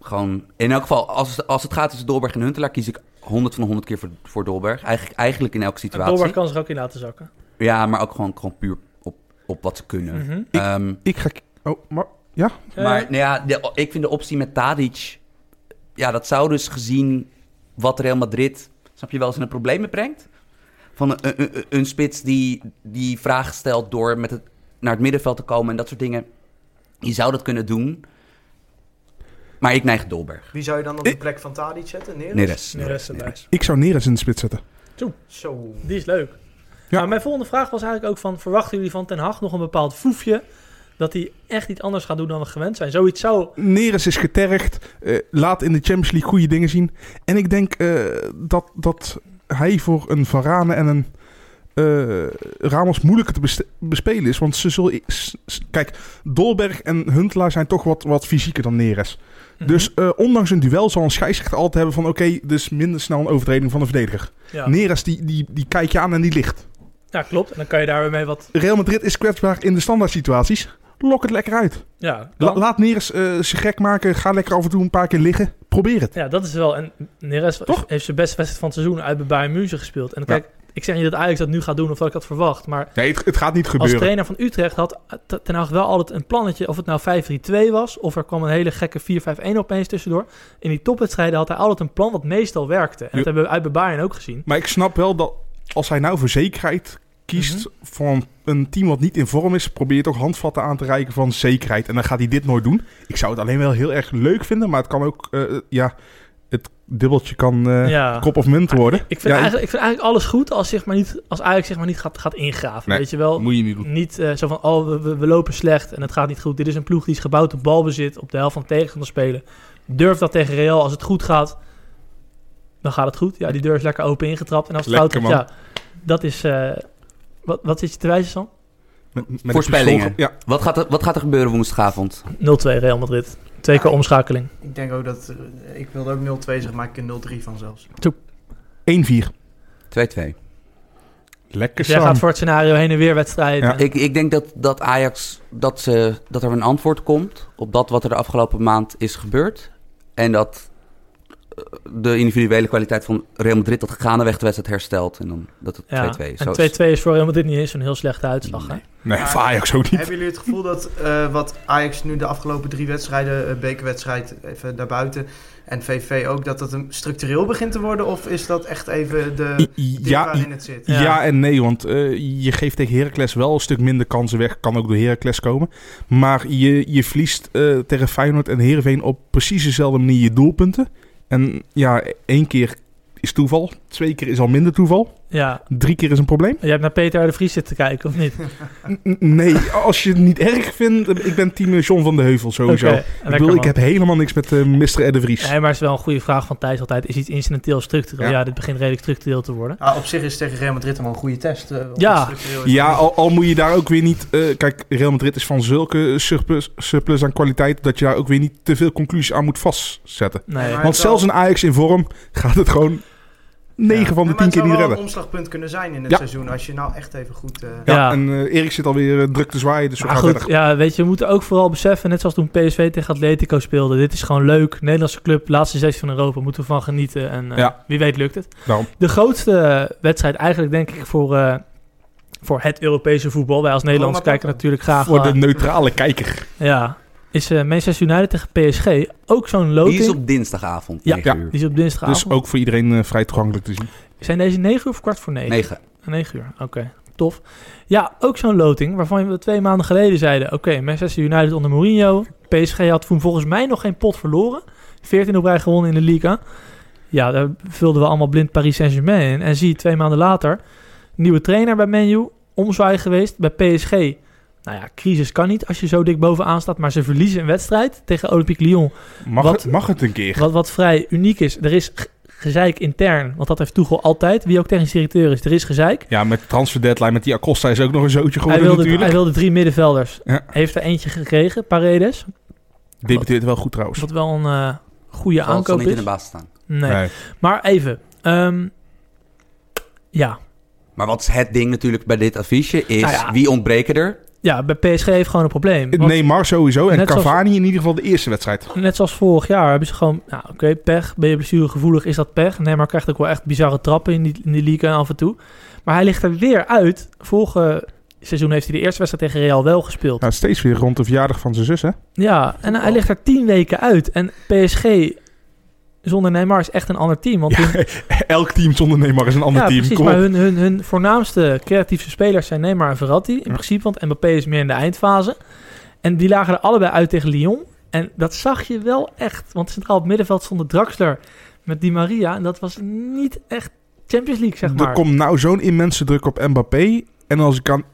[SPEAKER 4] gewoon... In elk geval, als het, als het gaat tussen Dolberg en Huntelaar... kies ik 100 van de 100 keer voor, voor Dolberg. Eigenlijk, eigenlijk in elke
[SPEAKER 1] En
[SPEAKER 4] situatie.
[SPEAKER 1] Dolberg kan zich ook in laten zakken.
[SPEAKER 4] Ja, maar ook gewoon, gewoon puur op, op wat ze kunnen.
[SPEAKER 1] Mhm.
[SPEAKER 4] Ehm,
[SPEAKER 3] Ik ga... k- Oh, maar...
[SPEAKER 1] Eh,
[SPEAKER 4] maar nou ja, de- ik vind de optie met Tadic... Ja, dat zou dus gezien wat Real Madrid... Snap je wel eens in de problemen brengt? Van een, een, een- een spits die, die vragen stelt door met het, naar het middenveld te komen en dat soort dingen. Je zou dat kunnen doen. Maar ik neig Dolberg.
[SPEAKER 2] Wie zou je dan op
[SPEAKER 3] Eh.
[SPEAKER 2] de plek van Tadic zetten? Neres?
[SPEAKER 4] Neres.
[SPEAKER 1] Neres erbij.
[SPEAKER 3] Ik zou Neres in de spits zetten.
[SPEAKER 2] Zo.
[SPEAKER 1] Die is leuk.
[SPEAKER 3] Ja.
[SPEAKER 1] Nou, mijn volgende vraag was eigenlijk ook van... verwachten jullie van Ten Hag nog een bepaald foefje... dat hij echt iets anders gaat doen dan we gewend zijn? Zoiets zou...
[SPEAKER 3] Neres is getergd. eh, laat in de Champions League goede dingen zien. En ik denk eh, dat, dat hij voor een Varane en een eh, Ramos moeilijker te beste- bespelen is. Want ze zullen... s- s- Kijk, Dolberg en Huntelaar zijn toch wat, wat fysieker dan Neres.
[SPEAKER 1] Mhm.
[SPEAKER 3] Dus eh, ondanks een duel zal een scheidsrechter altijd hebben van... Oké, dus minder snel een overtreding van de verdediger.
[SPEAKER 1] Ja.
[SPEAKER 3] Neres, die, die, die kijk je aan en die ligt.
[SPEAKER 1] ja, klopt. En dan kan je daar weer mee wat...
[SPEAKER 3] Real Madrid is kwetsbaar in de standaard situaties. Lok het lekker uit.
[SPEAKER 1] Ja,
[SPEAKER 3] La-
[SPEAKER 1] dan-
[SPEAKER 3] laat Neres eh ze gek maken. Ga lekker af en toe een paar keer liggen. Probeer het.
[SPEAKER 1] ja, dat is wel... En Neres
[SPEAKER 3] Toch?
[SPEAKER 1] heeft zijn beste wedstrijd van het seizoen... uit bij Bayern München gespeeld. En kijk, ik zeg niet dat Ajax dat nu gaat doen... of dat ik dat verwacht, maar...
[SPEAKER 3] Nee, het, het gaat niet
[SPEAKER 1] Als
[SPEAKER 3] gebeuren.
[SPEAKER 1] trainer van Utrecht had T- Ten Hag wel altijd een plannetje. Of het nou 5-3-2 was. Of er kwam een hele gekke 4-5-1 opeens tussendoor. In die topwedstrijden had hij altijd een plan wat meestal werkte. En
[SPEAKER 3] Jo.
[SPEAKER 1] dat hebben we uit bij Bayern ook gezien.
[SPEAKER 3] Maar ik snap wel dat als hij nou voor zekerheid kiest
[SPEAKER 1] Mhm.
[SPEAKER 3] voor een, een team wat niet in vorm is... probeer je toch handvatten aan te reiken van zekerheid. En dan gaat hij dit nooit doen. Ik zou het alleen wel heel erg leuk vinden. Maar het kan ook... eh, ja, het dubbeltje kan eh,
[SPEAKER 1] ja.
[SPEAKER 3] kop of munt worden.
[SPEAKER 1] Ik vind,
[SPEAKER 3] Ja,
[SPEAKER 1] eigenlijk, ik vind eigenlijk alles goed als, zich maar niet, als Ajax zich maar niet gaat, gaat ingraven.
[SPEAKER 3] Nee,
[SPEAKER 1] Weet je wel?
[SPEAKER 3] Moet je niet doen.
[SPEAKER 1] Niet eh, zo van, oh, we, we- we lopen slecht en het gaat niet goed. Dit is een ploeg die is gebouwd op balbezit, op de helft van de tegenstander spelen. Durf dat tegen Real. Als het goed gaat, dan gaat het goed. Ja, die deur is lekker open ingetrapt. En als het
[SPEAKER 3] Lekker,
[SPEAKER 1] fout gaat, ja, dat is... eh, wat, wat zit je te wijzen, Sam? 0-2
[SPEAKER 3] Met- met een pistool-
[SPEAKER 4] Voorspellingen.
[SPEAKER 3] Ja,
[SPEAKER 4] Wat gaat, er, wat gaat er gebeuren woensdagavond?
[SPEAKER 1] Real Madrid. Twee keer omschakeling.
[SPEAKER 2] Ik denk ook dat... eh, Ik wilde ook 0-2 zeggen, maar ik een 0-3 van zelfs.
[SPEAKER 3] 1-4.
[SPEAKER 4] 2-2.
[SPEAKER 3] Lekker
[SPEAKER 1] Dus jij
[SPEAKER 3] Sam.
[SPEAKER 1] gaat voor het scenario heen en weer wedstrijden.
[SPEAKER 3] Ja.
[SPEAKER 4] Ik, ik denk dat, dat Ajax, dat, ze, dat er een antwoord komt op dat wat er de afgelopen maand is gebeurd. En dat eh, de individuele kwaliteit van Real Madrid dat gaandeweg de wedstrijd herstelt. En dan dat het 2-2
[SPEAKER 1] Ja.
[SPEAKER 4] is. Zo
[SPEAKER 1] en
[SPEAKER 4] is-
[SPEAKER 1] 2-2 is voor Real Madrid niet eens een heel slechte uitslag. hè?
[SPEAKER 4] Nee.
[SPEAKER 3] Nee, voor Ajax ook niet.
[SPEAKER 2] *laughs* Hebben jullie het gevoel dat eh, wat Ajax nu de afgelopen drie wedstrijden, eh, bekerwedstrijd even daarbuiten en VV ook, dat dat een structureel begint te worden? Of is dat echt even de dip
[SPEAKER 3] Ja,
[SPEAKER 2] waarin het zit?
[SPEAKER 1] Ja.
[SPEAKER 3] Ja. en nee, want eh, je geeft tegen Heracles wel een stuk minder kansen weg. Kan ook door Heracles komen. Maar je, je verliest eh, tegen Feyenoord en Heerenveen op precies dezelfde manier je doelpunten. En ja, één keer is toeval. Twee keer is al minder toeval.
[SPEAKER 1] Ja.
[SPEAKER 3] Drie keer is een probleem.
[SPEAKER 1] Jij hebt naar Peter R. de Vries zitten kijken, of niet?
[SPEAKER 3] N- n- Nee, *laughs* als je het niet erg vindt. eh, Ik ben team John van de Heuvel sowieso.
[SPEAKER 1] Oké,
[SPEAKER 3] ik,
[SPEAKER 1] lekker,
[SPEAKER 3] bedoel, ik
[SPEAKER 1] man.
[SPEAKER 3] heb helemaal niks met eh, Mr. Ed de Vries.
[SPEAKER 1] Nee, maar het is wel een goede vraag van Thijs altijd. Is iets incidenteel structureel? Ja.
[SPEAKER 3] Ja.
[SPEAKER 1] dit begint redelijk structureel te worden.
[SPEAKER 2] Nou, op zich is tegen Real Madrid dan wel een goede test. eh, of
[SPEAKER 1] Ja.
[SPEAKER 2] het structureel is.
[SPEAKER 3] Ja, al, al moet je daar ook weer niet... eh, kijk, Real Madrid is van zulke surplus, surplus aan kwaliteit... dat je daar ook weer niet te veel conclusies aan moet vastzetten.
[SPEAKER 1] Nee.
[SPEAKER 2] Nee, maar-
[SPEAKER 3] Want zelfs een Ajax in vorm gaat het gewoon 9
[SPEAKER 1] Ja.
[SPEAKER 3] van de
[SPEAKER 2] Ja, maar
[SPEAKER 3] 10
[SPEAKER 2] het
[SPEAKER 3] keer
[SPEAKER 2] zou
[SPEAKER 3] niet
[SPEAKER 2] wel een
[SPEAKER 3] redden.
[SPEAKER 2] omslagpunt kunnen zijn in het
[SPEAKER 3] Ja.
[SPEAKER 2] seizoen als je nou echt even goed... eh,
[SPEAKER 3] Ja,
[SPEAKER 1] Ja.
[SPEAKER 3] en eh, Erik zit alweer eh, druk te zwaaien, dus we
[SPEAKER 1] Maar
[SPEAKER 3] gaan
[SPEAKER 1] goed,
[SPEAKER 3] verder.
[SPEAKER 1] ja, weet je, we moeten ook vooral beseffen, net zoals toen PSV tegen Atletico speelde. Dit is gewoon leuk. Nederlandse club, laatste zes van Europa, moeten we van genieten. En eh,
[SPEAKER 3] Ja.
[SPEAKER 1] wie weet lukt het.
[SPEAKER 3] Daarom.
[SPEAKER 1] De grootste wedstrijd eigenlijk, denk ik, voor, eh, voor het Europese voetbal. Wij als Nederlanders
[SPEAKER 2] Roma-Porto.
[SPEAKER 1] kijken natuurlijk graag...
[SPEAKER 3] Voor
[SPEAKER 1] eh,
[SPEAKER 3] de neutrale kijker.
[SPEAKER 1] Ja, is eh, Manchester United tegen PSG ook zo'n loting?
[SPEAKER 4] Die is op dinsdagavond,
[SPEAKER 1] Ja.
[SPEAKER 4] 9
[SPEAKER 3] Ja.
[SPEAKER 4] uur.
[SPEAKER 1] Die is op dinsdagavond.
[SPEAKER 3] Dus ook voor iedereen eh, vrij toegankelijk te zien.
[SPEAKER 1] Zijn deze 9 uur of kwart voor 9?
[SPEAKER 4] 9.
[SPEAKER 1] 9 uur, oké. Tof. Ja, ook zo'n loting waarvan we twee maanden geleden zeiden... Oké, Manchester United onder Mourinho. PSG had toen volgens mij nog geen pot verloren. 14 op rij gewonnen in de Liga. Ja, daar vulden we allemaal blind Paris Saint-Germain in. En zie, je, twee maanden later... Nieuwe trainer bij Menu, omzwaai geweest bij PSG. Nou ja, crisis kan niet als je zo dik bovenaan staat... maar ze verliezen een wedstrijd tegen Olympique Lyon...
[SPEAKER 3] Mag,
[SPEAKER 1] Wat-
[SPEAKER 3] het, mag het een keer?
[SPEAKER 1] Wat, wat vrij uniek is, er is g- gezeik intern, want dat heeft Tuchel altijd. Wie ook technisch directeur is, er is gezeik.
[SPEAKER 3] Ja, met transfer deadline, met die Acosta is ook nog een zootje
[SPEAKER 1] Hij
[SPEAKER 3] geworden
[SPEAKER 1] wilde,
[SPEAKER 3] natuurlijk.
[SPEAKER 1] hij wilde drie middenvelders.
[SPEAKER 3] Ja.
[SPEAKER 1] Heeft er eentje gekregen, Paredes.
[SPEAKER 3] Debuteert wel goed trouwens.
[SPEAKER 1] Wat wel een eh, goede
[SPEAKER 4] Zal zal
[SPEAKER 1] aankoop
[SPEAKER 4] niet in de
[SPEAKER 1] is.
[SPEAKER 4] baas staan.
[SPEAKER 1] Nee.
[SPEAKER 3] Nee.
[SPEAKER 1] Maar even. ehm, ja.
[SPEAKER 4] Maar wat is het ding natuurlijk bij dit affiche is,
[SPEAKER 1] Nou ja.
[SPEAKER 4] wie ontbreken er?
[SPEAKER 1] ja, bij PSG heeft gewoon een
[SPEAKER 3] Eh,
[SPEAKER 1] probleem. Want
[SPEAKER 3] Neymar sowieso en
[SPEAKER 1] Net zoals-
[SPEAKER 3] Cavani in ieder geval de eerste wedstrijd.
[SPEAKER 1] Net zoals vorig jaar hebben ze gewoon... Nou, oké, pech. Ben je blessuregevoelig, is dat pech. Nee, maar krijgt ook wel echt bizarre trappen in die, in die league af en toe. Maar hij ligt er weer uit. Vorige seizoen heeft hij de eerste wedstrijd tegen Real wel gespeeld.
[SPEAKER 3] Nou, steeds weer rond de verjaardag van zijn zus, hè? *laughs*
[SPEAKER 1] Ja, en hij ligt er tien weken uit. En PSG zonder Neymar is echt een ander team. Want hun-
[SPEAKER 3] Elk team zonder Neymar is een ander
[SPEAKER 1] ja,
[SPEAKER 3] team.
[SPEAKER 1] precies.
[SPEAKER 3] Kom
[SPEAKER 1] Maar
[SPEAKER 3] op.
[SPEAKER 1] hun, hun, hun voornaamste creatieve spelers zijn Neymar en Verratti. In principe, want Mbappé is meer in de eindfase. En die lagen er allebei uit tegen Lyon. En dat zag je wel echt. Want centraal op het middenveld stond de Draxler met Di Maria. En dat was niet echt Champions League, zeg
[SPEAKER 3] Er
[SPEAKER 1] maar.
[SPEAKER 3] komt nou zo'n immense druk op Mbappé. En als ik kan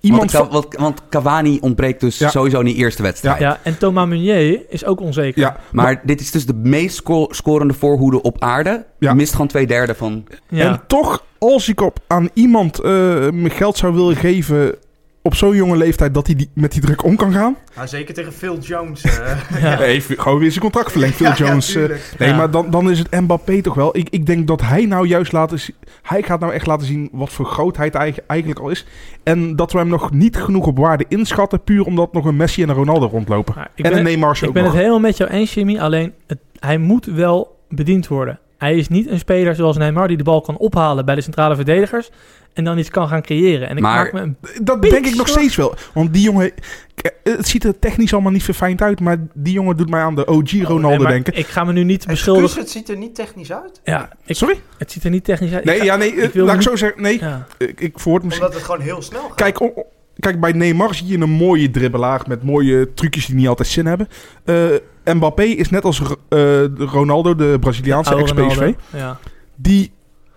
[SPEAKER 3] iemand
[SPEAKER 4] want, Ka-
[SPEAKER 3] van...
[SPEAKER 4] want, want Cavani ontbreekt dus
[SPEAKER 3] Ja.
[SPEAKER 4] sowieso in die eerste wedstrijd.
[SPEAKER 1] Ja, en Thomas Meunier is ook onzeker.
[SPEAKER 3] Ja,
[SPEAKER 4] Maar dit is dus de meest sco- scorende voorhoede op aarde.
[SPEAKER 3] Ja.
[SPEAKER 4] Mist gewoon twee derde van...
[SPEAKER 1] Ja.
[SPEAKER 3] En toch, als ik op aan iemand eh, mijn geld zou willen geven op zo'n jonge leeftijd dat hij die, met die druk om kan gaan.
[SPEAKER 2] Nou, zeker tegen Phil
[SPEAKER 3] *laughs*
[SPEAKER 2] Jones. eh.
[SPEAKER 1] Ja.
[SPEAKER 3] Nee, gewoon weer zijn contract verlengd, Phil
[SPEAKER 2] Ja, ja,
[SPEAKER 3] Jones. eh.
[SPEAKER 2] tuurlijk.
[SPEAKER 3] nee,
[SPEAKER 1] Ja.
[SPEAKER 3] maar dan, dan is het Mbappé toch wel. Ik, ik denk dat hij nou juist laten zien... Hij gaat nou echt laten zien wat voor grootheid hij eigen- eigenlijk al is. En dat we hem nog niet genoeg op waarde inschatten... puur omdat nog een Messi en een Ronaldo rondlopen.
[SPEAKER 1] Maar ik
[SPEAKER 3] en
[SPEAKER 1] ben-
[SPEAKER 3] een Neymar
[SPEAKER 1] Ik
[SPEAKER 3] ook
[SPEAKER 1] ben
[SPEAKER 3] nog.
[SPEAKER 1] het helemaal met jou eens, Jimmy. Alleen, het- hij moet wel bediend worden. Hij is niet een speler zoals Neymar die de bal kan ophalen bij de centrale verdedigers en dan iets kan gaan creëren. En ik
[SPEAKER 4] Maar-
[SPEAKER 1] maak me een-
[SPEAKER 3] Dat
[SPEAKER 1] Pieks,
[SPEAKER 3] denk ik nog
[SPEAKER 1] hoor.
[SPEAKER 3] steeds wel. Want die jongen... k- Het ziet er technisch allemaal niet verfijnd uit... maar die jongen doet mij aan de OG Ronaldo
[SPEAKER 1] Oh, Nee, maar
[SPEAKER 3] denken.
[SPEAKER 1] Ik ga me nu niet
[SPEAKER 2] Excuus,
[SPEAKER 1] beschuldigen.
[SPEAKER 2] het ziet er niet technisch uit.
[SPEAKER 1] Ja, ik,
[SPEAKER 3] Sorry?
[SPEAKER 1] het ziet er niet technisch uit. Ik
[SPEAKER 3] Nee,
[SPEAKER 1] ga-
[SPEAKER 3] ja, nee, eh,
[SPEAKER 1] ik wil
[SPEAKER 3] laat ik
[SPEAKER 1] niet-
[SPEAKER 3] zo zeggen. Nee, eh,
[SPEAKER 1] ja.
[SPEAKER 3] ik, ik verwoord misschien.
[SPEAKER 2] Omdat het gewoon heel snel gaat.
[SPEAKER 3] Kijk, o- o- kijk, bij Neymar zie je een mooie dribbelaar met mooie trucjes die niet altijd zin hebben. Eh, Mbappé is net als Ro- eh, de Ronaldo, de Braziliaanse
[SPEAKER 1] Oude
[SPEAKER 3] ex-PSV.
[SPEAKER 1] Ronaldo. Ja.
[SPEAKER 3] Die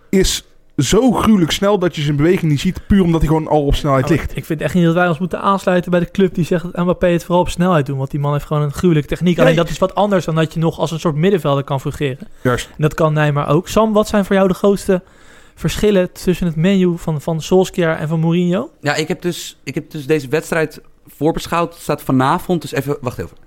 [SPEAKER 3] is zo gruwelijk snel dat je zijn beweging niet ziet, puur omdat hij gewoon al op snelheid Oh, ligt.
[SPEAKER 1] Oh, Ik vind echt niet dat wij ons moeten aansluiten bij de club die zegt dat Mbappé het vooral op snelheid doet. Want die man heeft gewoon een gruwelijke techniek. Alleen
[SPEAKER 3] Nee.
[SPEAKER 1] dat is wat anders dan dat je nog als een soort middenvelder kan fungeren.
[SPEAKER 3] Juist.
[SPEAKER 1] En dat kan Neymar ook. Sam, wat zijn voor jou de grootste verschillen tussen het menu van, van Solskjaer en van Mourinho?
[SPEAKER 4] Ja, ik heb dus, ik heb dus deze wedstrijd voorbeschouwd. Het staat vanavond, dus even... Wacht even.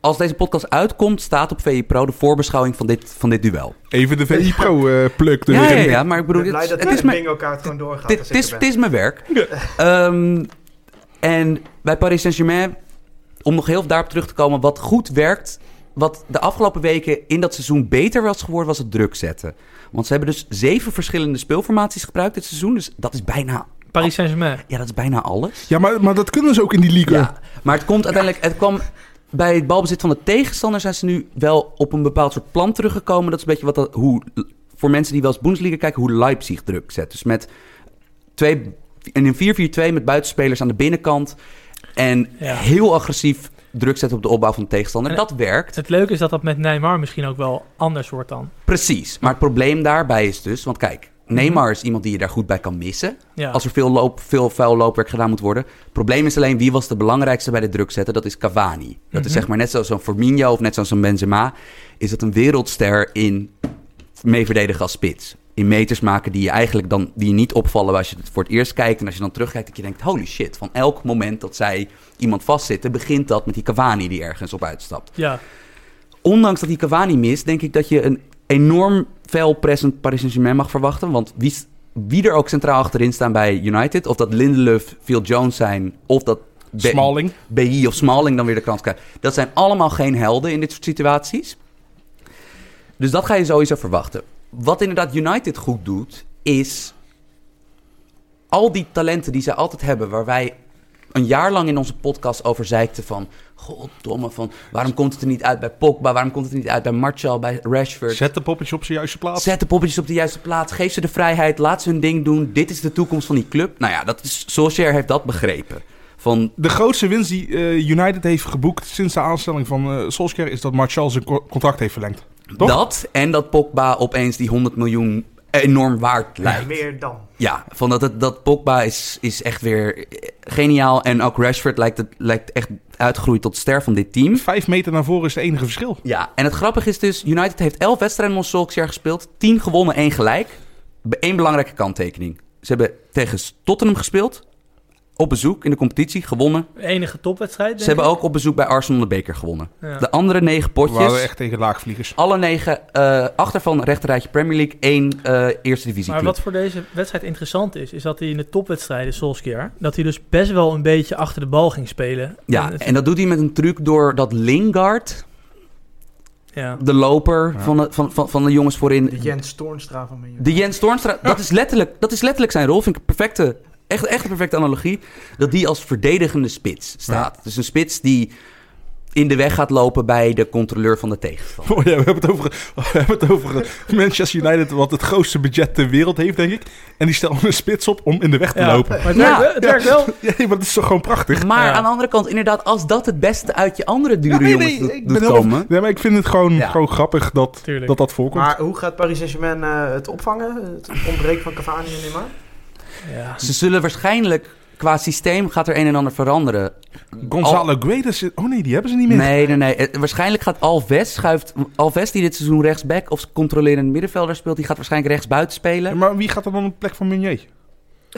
[SPEAKER 4] Als deze podcast uitkomt, staat op VE Pro de voorbeschouwing van dit, van dit duel.
[SPEAKER 3] Even de VI Pro eh pluk
[SPEAKER 4] ja, ja,
[SPEAKER 3] erin.
[SPEAKER 4] ja, maar ik bedoel,
[SPEAKER 2] ik ben
[SPEAKER 4] het,
[SPEAKER 2] blij dat
[SPEAKER 4] het is
[SPEAKER 2] de
[SPEAKER 4] mijn,
[SPEAKER 2] bingo-kaart gewoon doorgaat.
[SPEAKER 4] dit,
[SPEAKER 2] als
[SPEAKER 4] dit
[SPEAKER 2] ik
[SPEAKER 4] is,
[SPEAKER 2] er
[SPEAKER 4] dit
[SPEAKER 2] ben.
[SPEAKER 4] is mijn werk. Ehm, en bij Paris Saint-Germain, om nog heel veel daarop terug te komen, wat goed werkt, wat de afgelopen weken in dat seizoen beter was geworden, was het druk zetten. Want ze hebben dus zeven verschillende speelformaties gebruikt dit seizoen, dus dat is bijna,
[SPEAKER 1] Paris Saint-Germain.
[SPEAKER 4] ja, dat is bijna alles.
[SPEAKER 3] Ja, maar, maar dat kunnen ze ook in die league.
[SPEAKER 4] Ja, maar het komt uiteindelijk, het kwam bij het balbezit van de tegenstander zijn ze nu wel op een bepaald soort plan teruggekomen. Dat is een beetje wat dat, hoe, voor mensen die wel eens Bundesliga kijken, hoe Leipzig druk zet. Dus met twee, in een 4-4-2 met buitenspelers aan de binnenkant en
[SPEAKER 1] Ja.
[SPEAKER 4] heel agressief druk zetten op de opbouw van de tegenstander.
[SPEAKER 1] En-
[SPEAKER 4] dat werkt,
[SPEAKER 1] Het leuke is dat dat met Neymar misschien ook wel anders wordt dan.
[SPEAKER 4] precies. Maar het probleem daarbij is dus, want kijk, Neymar is iemand die je daar goed bij kan missen.
[SPEAKER 1] Ja.
[SPEAKER 4] Als er veel, loop, veel vuil loopwerk gedaan moet worden. Het probleem is alleen wie was de belangrijkste bij de druk zetten. Dat is Cavani. Dat is
[SPEAKER 1] Mhm.
[SPEAKER 4] zeg maar net zoals zo'n Firmino of net zoals zo'n Benzema. Is dat een wereldster in mee verdedigen als spits. In meters maken die je eigenlijk dan die je niet opvallen als je het voor het eerst kijkt. En als je dan terugkijkt dat je denkt, holy shit. Van elk moment dat zij iemand vastzitten, begint dat met die Cavani die ergens op uitstapt
[SPEAKER 1] Ja,
[SPEAKER 4] ondanks dat die Cavani mist, denk ik dat je een enorm fel present Paris Saint-Germain mag verwachten. Want wie, wie er ook centraal achterin staan bij United, of dat Lindelöf, Phil Jones zijn, of dat Be-
[SPEAKER 3] Smalling.
[SPEAKER 4] BI of Smalling dan weer de kans krijgen. Dat zijn allemaal geen helden in dit soort situaties. Dus dat ga je sowieso verwachten. Wat inderdaad United goed doet, is al die talenten die zij altijd hebben, waar wij een jaar lang in onze podcast over zeikten van... Goddomme, van waarom komt het er niet uit bij Pogba? Waarom komt het er niet uit bij Martial, bij Rashford?
[SPEAKER 3] Zet de poppetje op zijn juiste plaats.
[SPEAKER 4] Zet de poppetjes op de juiste plaats. Geef ze de vrijheid. Laat ze hun ding doen. Dit is de toekomst van die club. Nou ja, dat is, Solskjaer heeft dat begrepen. Van,
[SPEAKER 3] De grootste winst die eh, United heeft geboekt sinds de aanstelling van eh Solskjaer... is dat Martial zijn co- contract heeft verlengd. Toch?
[SPEAKER 4] Dat en dat Pogba opeens die 100 miljoen enorm waard lijkt.
[SPEAKER 2] Meer dan.
[SPEAKER 4] Ja, van dat, dat, dat Pogba is, is echt weer eh, geniaal. En ook Rashford lijkt, het, lijkt echt uitgegroeid tot ster van dit team.
[SPEAKER 3] Vijf meter naar voren is het enige verschil.
[SPEAKER 4] Ja, en het grappige is dus... United heeft 11 wedstrijden onder Solskjaer gespeeld. 10 gewonnen, 1 gelijk. Be- één belangrijke kanttekening. Ze hebben tegen Tottenham gespeeld. Op bezoek in de competitie, gewonnen.
[SPEAKER 1] de enige topwedstrijd. Denk
[SPEAKER 4] Ze hebben ook op bezoek bij Arsenal de beker gewonnen.
[SPEAKER 1] Ja.
[SPEAKER 4] De andere 9
[SPEAKER 3] We waren
[SPEAKER 4] potjes...
[SPEAKER 3] echt tegen laagvliegers. *laughs*
[SPEAKER 4] Alle negen eh, achter van rechterrijtje Premier League, één eh, eerste divisie.
[SPEAKER 1] Maar
[SPEAKER 4] club.
[SPEAKER 1] wat voor deze wedstrijd interessant is, is dat hij in de topwedstrijden, Solskjaer, dat hij dus best wel een beetje achter de bal ging spelen.
[SPEAKER 4] Ja,
[SPEAKER 1] het-
[SPEAKER 4] en dat doet hij met een truc door dat Lingard,
[SPEAKER 1] ja.
[SPEAKER 4] de loper
[SPEAKER 3] Ja.
[SPEAKER 4] van, de, van, van, van de jongens voorin.
[SPEAKER 2] De Jens Toornstra van mijn jongen.
[SPEAKER 4] De Jens Toornstra, dat, is letterlijk, dat is letterlijk zijn rol. Vind ik een perfecte echt, echt een perfecte analogie. Dat die als verdedigende spits staat. Dus een spits die in de weg gaat lopen bij de controleur van de tegenstander.
[SPEAKER 3] Oh ja, we hebben het over, we hebben het over eh, Manchester United, wat het grootste budget ter wereld heeft, denk ik. En die stellen een spits op om in de weg te
[SPEAKER 1] Ja,
[SPEAKER 3] lopen.
[SPEAKER 1] Maar het, werkt,
[SPEAKER 4] Ja.
[SPEAKER 1] wel- het werkt wel.
[SPEAKER 3] *laughs* Ja, maar dat is toch gewoon prachtig?
[SPEAKER 4] Maar
[SPEAKER 1] Ja.
[SPEAKER 4] aan de andere kant, inderdaad, als dat het beste uit je andere dure
[SPEAKER 3] Ja, nee,
[SPEAKER 4] jongens
[SPEAKER 3] nee,
[SPEAKER 4] doet-
[SPEAKER 3] ik
[SPEAKER 4] doet
[SPEAKER 3] ben heel-
[SPEAKER 4] komen.
[SPEAKER 3] Nee, maar ik vind het gewoon,
[SPEAKER 4] Ja.
[SPEAKER 3] gewoon grappig dat
[SPEAKER 1] Tuurlijk.
[SPEAKER 3] dat, dat voorkomt.
[SPEAKER 2] Maar hoe gaat Paris Saint-Germain eh, het opvangen? Het ontbreken van Cavani en Neymar?
[SPEAKER 1] Ja.
[SPEAKER 4] Ze zullen waarschijnlijk qua systeem gaat er een en ander veranderen.
[SPEAKER 3] Gonzalo Guedes... Oh nee, die hebben ze niet meer.
[SPEAKER 4] Nee, nee, nee. Eh, Waarschijnlijk gaat Alves schuift Alves die dit seizoen rechtsback of controlerend middenvelder speelt, die gaat waarschijnlijk rechtsbuiten
[SPEAKER 3] Ja,
[SPEAKER 4] spelen.
[SPEAKER 3] Maar wie gaat er dan op de plek van Meunier?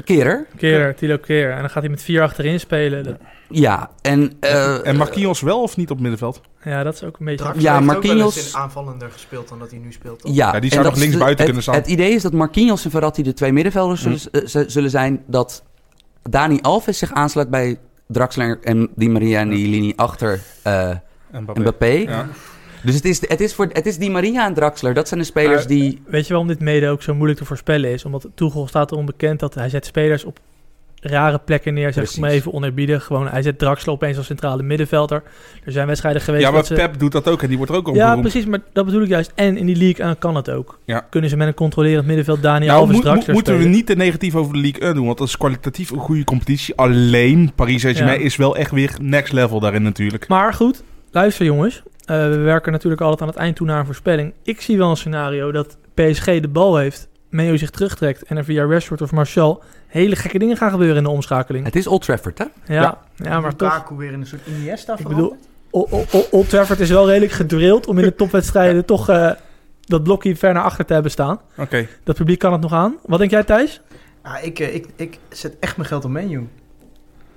[SPEAKER 4] Kerer.
[SPEAKER 1] Keer, Tilo Keer. En dan gaat hij met vier achterin spelen. Dat,
[SPEAKER 4] Ja. En, eh,
[SPEAKER 3] en Marquinhos wel of niet op middenveld?
[SPEAKER 1] ja, dat is ook een beetje...
[SPEAKER 2] Draxler
[SPEAKER 4] Ja,
[SPEAKER 2] heeft ook wel
[SPEAKER 4] Marquinhos-
[SPEAKER 2] eens in aanvallender gespeeld dan dat hij nu speelt. toch?
[SPEAKER 4] Ja,
[SPEAKER 3] Ja, die
[SPEAKER 4] en
[SPEAKER 3] zou
[SPEAKER 4] dat
[SPEAKER 3] nog
[SPEAKER 4] is
[SPEAKER 3] links
[SPEAKER 4] de-
[SPEAKER 3] buiten
[SPEAKER 4] het-
[SPEAKER 3] kunnen staan.
[SPEAKER 4] Het idee is dat Marquinhos en Verratti de twee middenvelders
[SPEAKER 3] Mm.
[SPEAKER 4] zullen, eh, z- zullen zijn. Dat Dani Alves zich aansluit bij Draxler en Di Maria en die linie achter eh
[SPEAKER 3] En
[SPEAKER 4] Mbappé.
[SPEAKER 3] Ja.
[SPEAKER 4] Dus het is, het, is voor, het is Di Maria en Draxler. Dat zijn de spelers
[SPEAKER 3] Eh,
[SPEAKER 1] Maar-
[SPEAKER 4] die...
[SPEAKER 1] Weet je waarom dit mede ook zo moeilijk te voorspellen is? Omdat Tuchel staat er onbekend dat hij zet spelers op rare plekken neer. Zeg ik
[SPEAKER 4] Precies.
[SPEAKER 1] maar even onerbiedig. Gewoon, hij zet Draxler opeens als centrale middenvelder. Er zijn wedstrijden geweest
[SPEAKER 3] Ja, maar
[SPEAKER 1] dat ze...
[SPEAKER 3] Pep doet dat ook en die wordt er ook om
[SPEAKER 1] Ja,
[SPEAKER 3] beroemd.
[SPEAKER 1] precies, maar dat bedoel ik juist. En in die league eh, kan het ook.
[SPEAKER 3] Ja.
[SPEAKER 1] Kunnen ze met een controlerend middenveld Daniel
[SPEAKER 3] Nou,
[SPEAKER 1] Alves
[SPEAKER 3] moet-
[SPEAKER 1] Draxler
[SPEAKER 3] moet- moeten we
[SPEAKER 1] spelen?
[SPEAKER 3] niet te negatief over de League 1 doen, want dat is kwalitatief een goede competitie. Alleen Paris Saint-Germain
[SPEAKER 1] Ja.
[SPEAKER 3] is wel echt weer next level daarin natuurlijk.
[SPEAKER 1] Maar goed, luister jongens. Eh, we werken natuurlijk altijd aan het eind toe naar een voorspelling. Ik zie wel een scenario dat PSG de bal heeft, Meo zich terugtrekt en er via Rashford of Martial hele gekke dingen gaan gebeuren in de omschakeling.
[SPEAKER 4] Hm? Het is Old Trafford, hè?
[SPEAKER 1] Ja, ja. maar toch.
[SPEAKER 2] Lukaku weer in een soort Iniesta
[SPEAKER 1] Ik
[SPEAKER 2] van.
[SPEAKER 1] bedoel, O- o- o- Old Trafford is wel redelijk gedrild om in
[SPEAKER 2] *laughs*
[SPEAKER 1] de topwedstrijden toch eh, dat blokje ver naar achter te hebben staan.
[SPEAKER 3] Oké.
[SPEAKER 1] Dat publiek kan het nog aan. Wat denk jij Thijs?
[SPEAKER 2] Ja, ik, eh, ik, ik zet echt mijn geld op menu.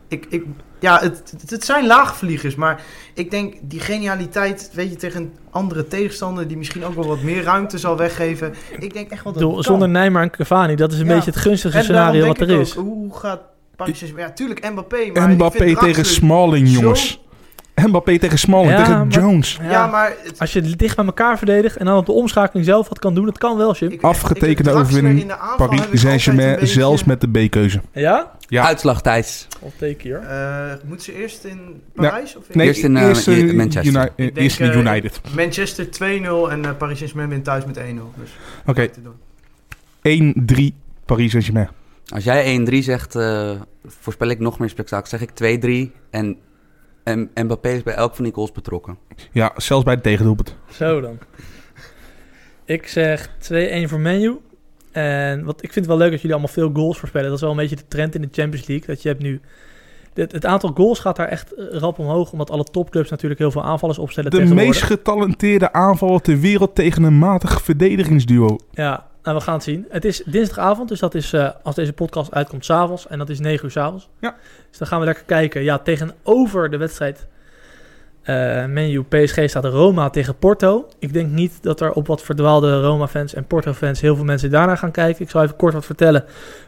[SPEAKER 2] Ik, ik, ja, het, het- het zijn laagvliegers, maar ik denk die genialiteit, weet je, tegen een andere tegenstander die misschien ook wel wat meer ruimte zal weggeven. Ik denk echt wel
[SPEAKER 1] Ik
[SPEAKER 2] dat het
[SPEAKER 1] bedoel,
[SPEAKER 2] kan.
[SPEAKER 1] zonder Neymar en Cavani, dat is een
[SPEAKER 2] Ja.
[SPEAKER 1] beetje het gunstigste
[SPEAKER 2] En daarom
[SPEAKER 1] scenario
[SPEAKER 2] denk
[SPEAKER 1] wat er
[SPEAKER 2] ik
[SPEAKER 1] is.
[SPEAKER 2] ook, hoe gaat Paris Saint-Germain? Ja, tuurlijk Mbappé, maar ik
[SPEAKER 3] Mbappé
[SPEAKER 2] vind
[SPEAKER 3] tegen
[SPEAKER 2] Draxler-
[SPEAKER 3] Smalling,
[SPEAKER 2] zo-
[SPEAKER 3] jongens. Mbappé tegen Smalling,
[SPEAKER 1] Ja, maar-
[SPEAKER 3] tegen Jones.
[SPEAKER 2] Ja, maar... het-
[SPEAKER 1] Als je het dicht bij elkaar verdedigt en dan op de omschakeling zelf wat kan doen, dat kan wel, Jim.
[SPEAKER 2] ik-
[SPEAKER 3] Afgetekende
[SPEAKER 2] ik- Draxler
[SPEAKER 3] overwinning,
[SPEAKER 2] in de aanval
[SPEAKER 3] Paris
[SPEAKER 2] heb ik
[SPEAKER 3] Saint-Germain,
[SPEAKER 2] altijd een
[SPEAKER 3] zelfs
[SPEAKER 2] beetje-
[SPEAKER 3] met de B-keuze.
[SPEAKER 1] Ja?
[SPEAKER 3] Ja.
[SPEAKER 4] Uitslag, Thijs.
[SPEAKER 1] Al teken hier.
[SPEAKER 2] Eh, moet ze eerst in Parijs? of in-
[SPEAKER 3] Nee,
[SPEAKER 4] Eerst in, eh,
[SPEAKER 3] eerst, eh,
[SPEAKER 4] Manchester.
[SPEAKER 3] Uni- eh,
[SPEAKER 2] Ik denk,
[SPEAKER 3] eerst in
[SPEAKER 2] eh,
[SPEAKER 3] United.
[SPEAKER 2] Manchester 2-0 en eh, Paris Saint-Germain wint thuis met 1-0. Dus
[SPEAKER 3] Oké,
[SPEAKER 2] te doen.
[SPEAKER 3] 1-3 Paris Saint-Germain.
[SPEAKER 4] Als jij 1-3 zegt, eh, voorspel ik nog meer spektakel. Zeg ik 2-3 en, en Mbappé is bij elk van die goals betrokken.
[SPEAKER 3] Ja, zelfs bij het tegendoelpunt.
[SPEAKER 1] Zo dan. Ik zeg 2-1 voor Menu. En wat, ik vind het wel leuk dat jullie allemaal veel goals voorspellen. Dat is wel een beetje de trend in de Champions League. Dat je hebt nu... Het, het aantal goals gaat daar echt eh, rap omhoog. Omdat alle topclubs natuurlijk heel veel aanvallers opstellen
[SPEAKER 3] De
[SPEAKER 1] tegenwoordig.
[SPEAKER 3] meest getalenteerde aanvaller ter wereld tegen een matig verdedigingsduo.
[SPEAKER 1] Ja, nou, we gaan het zien. Het is dinsdagavond, dus dat is eh, als deze podcast uitkomt s'avonds. En dat is 9 uur s'avonds.
[SPEAKER 3] Ja.
[SPEAKER 1] Dus dan gaan we lekker kijken. Ja, tegenover de wedstrijd eh menu PSG staat Roma tegen Porto. Ik denk niet dat er op wat verdwaalde Roma-fans en Porto-fans heel veel mensen daarna gaan kijken. Ik zal even kort wat vertellen.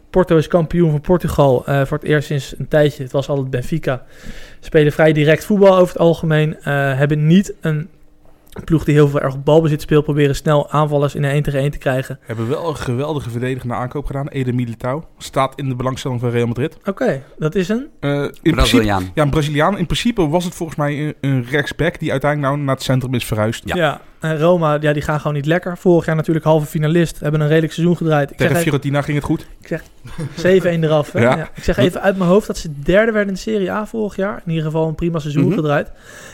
[SPEAKER 1] Porto is kampioen van Portugal eh, voor het eerst sinds een tijdje. Het was altijd Benfica. Spelen vrij direct voetbal over het algemeen. eh, hebben niet een ploeg die heel veel erg op balbezit speelt. Proberen snel aanvallers in een 1 tegen 1 te krijgen.
[SPEAKER 3] Hebben wel een geweldige verdedigende aankoop gedaan. Eder Militao. Staat in de belangstelling van Real Madrid.
[SPEAKER 1] Oké, dat is een.
[SPEAKER 3] Eh, in principe,
[SPEAKER 4] Braziliaan.
[SPEAKER 3] ja, een Braziliaan. In principe was het volgens mij een, een rechtsback die uiteindelijk nou naar het centrum is verhuisd.
[SPEAKER 4] Ja.
[SPEAKER 1] Ja. En Roma, ja, die gaan gewoon niet lekker. Vorig jaar natuurlijk halve finalist. Hebben een redelijk seizoen gedraaid. Ik zeg,
[SPEAKER 3] Tegen
[SPEAKER 1] even,
[SPEAKER 3] Fiorentina ging het goed.
[SPEAKER 1] 7-1 eraf. Hè?
[SPEAKER 3] Ja.
[SPEAKER 1] Ja. Ik zeg even uit mijn hoofd dat ze derde werden in de Serie A vorig jaar. In ieder geval een prima seizoen
[SPEAKER 4] Mhm.
[SPEAKER 1] gedraaid.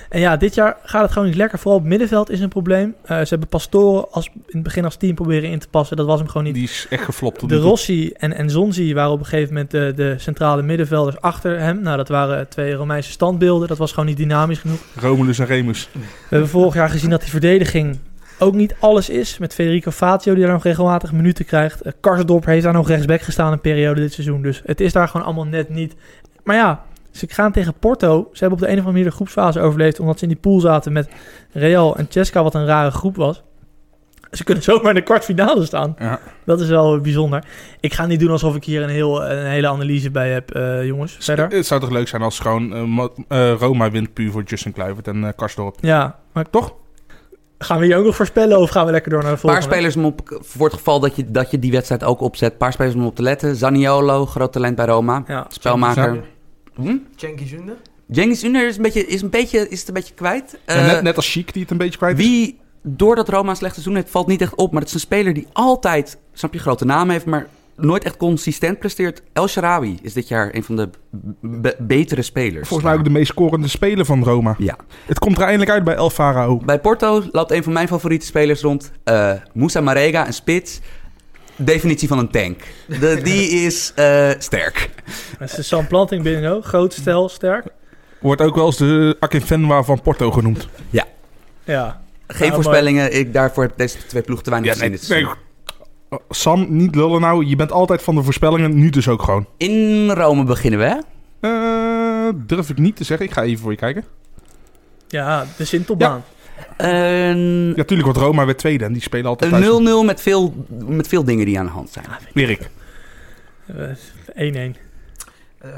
[SPEAKER 1] En ja, dit jaar gaat het gewoon niet lekker. Vooral op middenveld is een probleem. Eh, ze hebben Pastoren als, in het begin als team proberen in te passen. Dat was hem gewoon niet.
[SPEAKER 3] Die is echt geflopt. tot
[SPEAKER 1] De
[SPEAKER 3] nu toe.
[SPEAKER 1] Rossi en, en Zonzi waren op een gegeven moment de, de centrale middenvelders achter hem. Nou, dat waren twee Romeinse standbeelden. Dat was gewoon niet dynamisch genoeg.
[SPEAKER 3] Romulus en Remus.
[SPEAKER 1] We hebben vorig jaar gezien dat die verdediging ook niet alles is. Met Federico Fazio die daar nog regelmatig minuten krijgt. Eh, Karsdorp heeft daar nog rechtsback gestaan een periode dit seizoen. Dus het is daar gewoon allemaal net niet. Maar ja, ze gaan tegen Porto. Ze hebben op de een of andere manier de groepsfase overleefd. Omdat ze in die pool zaten met Real en Cesca, wat een rare groep was. Ze kunnen zomaar in de kwartfinale staan.
[SPEAKER 3] Ja.
[SPEAKER 1] Dat is wel bijzonder. Ik ga niet doen alsof ik hier een, heel, een hele analyse bij heb, eh, jongens. Verder.
[SPEAKER 3] Het zou toch leuk zijn als gewoon eh, Ma- eh, Roma wint puur voor Justin Kluivert en eh Karsdorp.
[SPEAKER 1] Ja, maar
[SPEAKER 3] Toch?
[SPEAKER 1] Gaan we hier ook nog voorspellen of gaan we lekker door naar de
[SPEAKER 4] Een paar
[SPEAKER 1] volgende?
[SPEAKER 4] spelers om op, voor het geval dat je, dat je die wedstrijd ook opzet. Een paar spelers om op te letten. Zaniolo, groot talent bij Roma.
[SPEAKER 1] Ja.
[SPEAKER 4] Spelmaker. Hm?
[SPEAKER 2] Cengiz Under.
[SPEAKER 4] Jengis Under is, een beetje, is, een beetje, is het een beetje kwijt.
[SPEAKER 3] Ja,
[SPEAKER 4] Eh,
[SPEAKER 3] net, net als Chic, die het een beetje kwijt is.
[SPEAKER 4] Wie, doordat Roma een slecht seizoen heeft, valt niet echt op. Maar het is een speler die altijd, snap je, grote naam heeft, maar nooit echt consistent presteert. El Sharawi is dit jaar een van de be- betere spelers.
[SPEAKER 3] Volgens mij ook de meest scorende speler van Roma.
[SPEAKER 4] Ja.
[SPEAKER 3] Het komt er eindelijk uit bij El Farao.
[SPEAKER 4] Bij Porto loopt een van mijn favoriete spelers rond. eh Moussa Marega, een spits. Definitie van een tank. De,
[SPEAKER 3] *laughs*
[SPEAKER 4] die is eh, sterk.
[SPEAKER 1] Dat is de Sam Planting binnen ook. Groot, stel, sterk.
[SPEAKER 3] Wordt ook wel eens de Akinfenwa van Porto genoemd.
[SPEAKER 1] Ja.
[SPEAKER 4] Geen
[SPEAKER 1] Ja,
[SPEAKER 4] voorspellingen. Ik, daarvoor heb ik deze twee ploegen te weinig gezien. dus- dit seizoen.
[SPEAKER 3] nee. Sam, niet lullen nou. Je bent altijd van de voorspellingen. Nu dus ook gewoon.
[SPEAKER 4] In Rome beginnen we. hè?
[SPEAKER 3] Eh, durf ik niet te zeggen. Ik ga even voor je kijken.
[SPEAKER 1] Ja, de Sintelbaan.
[SPEAKER 4] Een-
[SPEAKER 3] Ja, tuurlijk wordt Roma weer tweede. En die spelen altijd thuis.
[SPEAKER 4] Een 0-0 met veel, met veel dingen die aan de hand zijn.
[SPEAKER 3] Weer ik.
[SPEAKER 1] Eh, 1-1.
[SPEAKER 2] Eh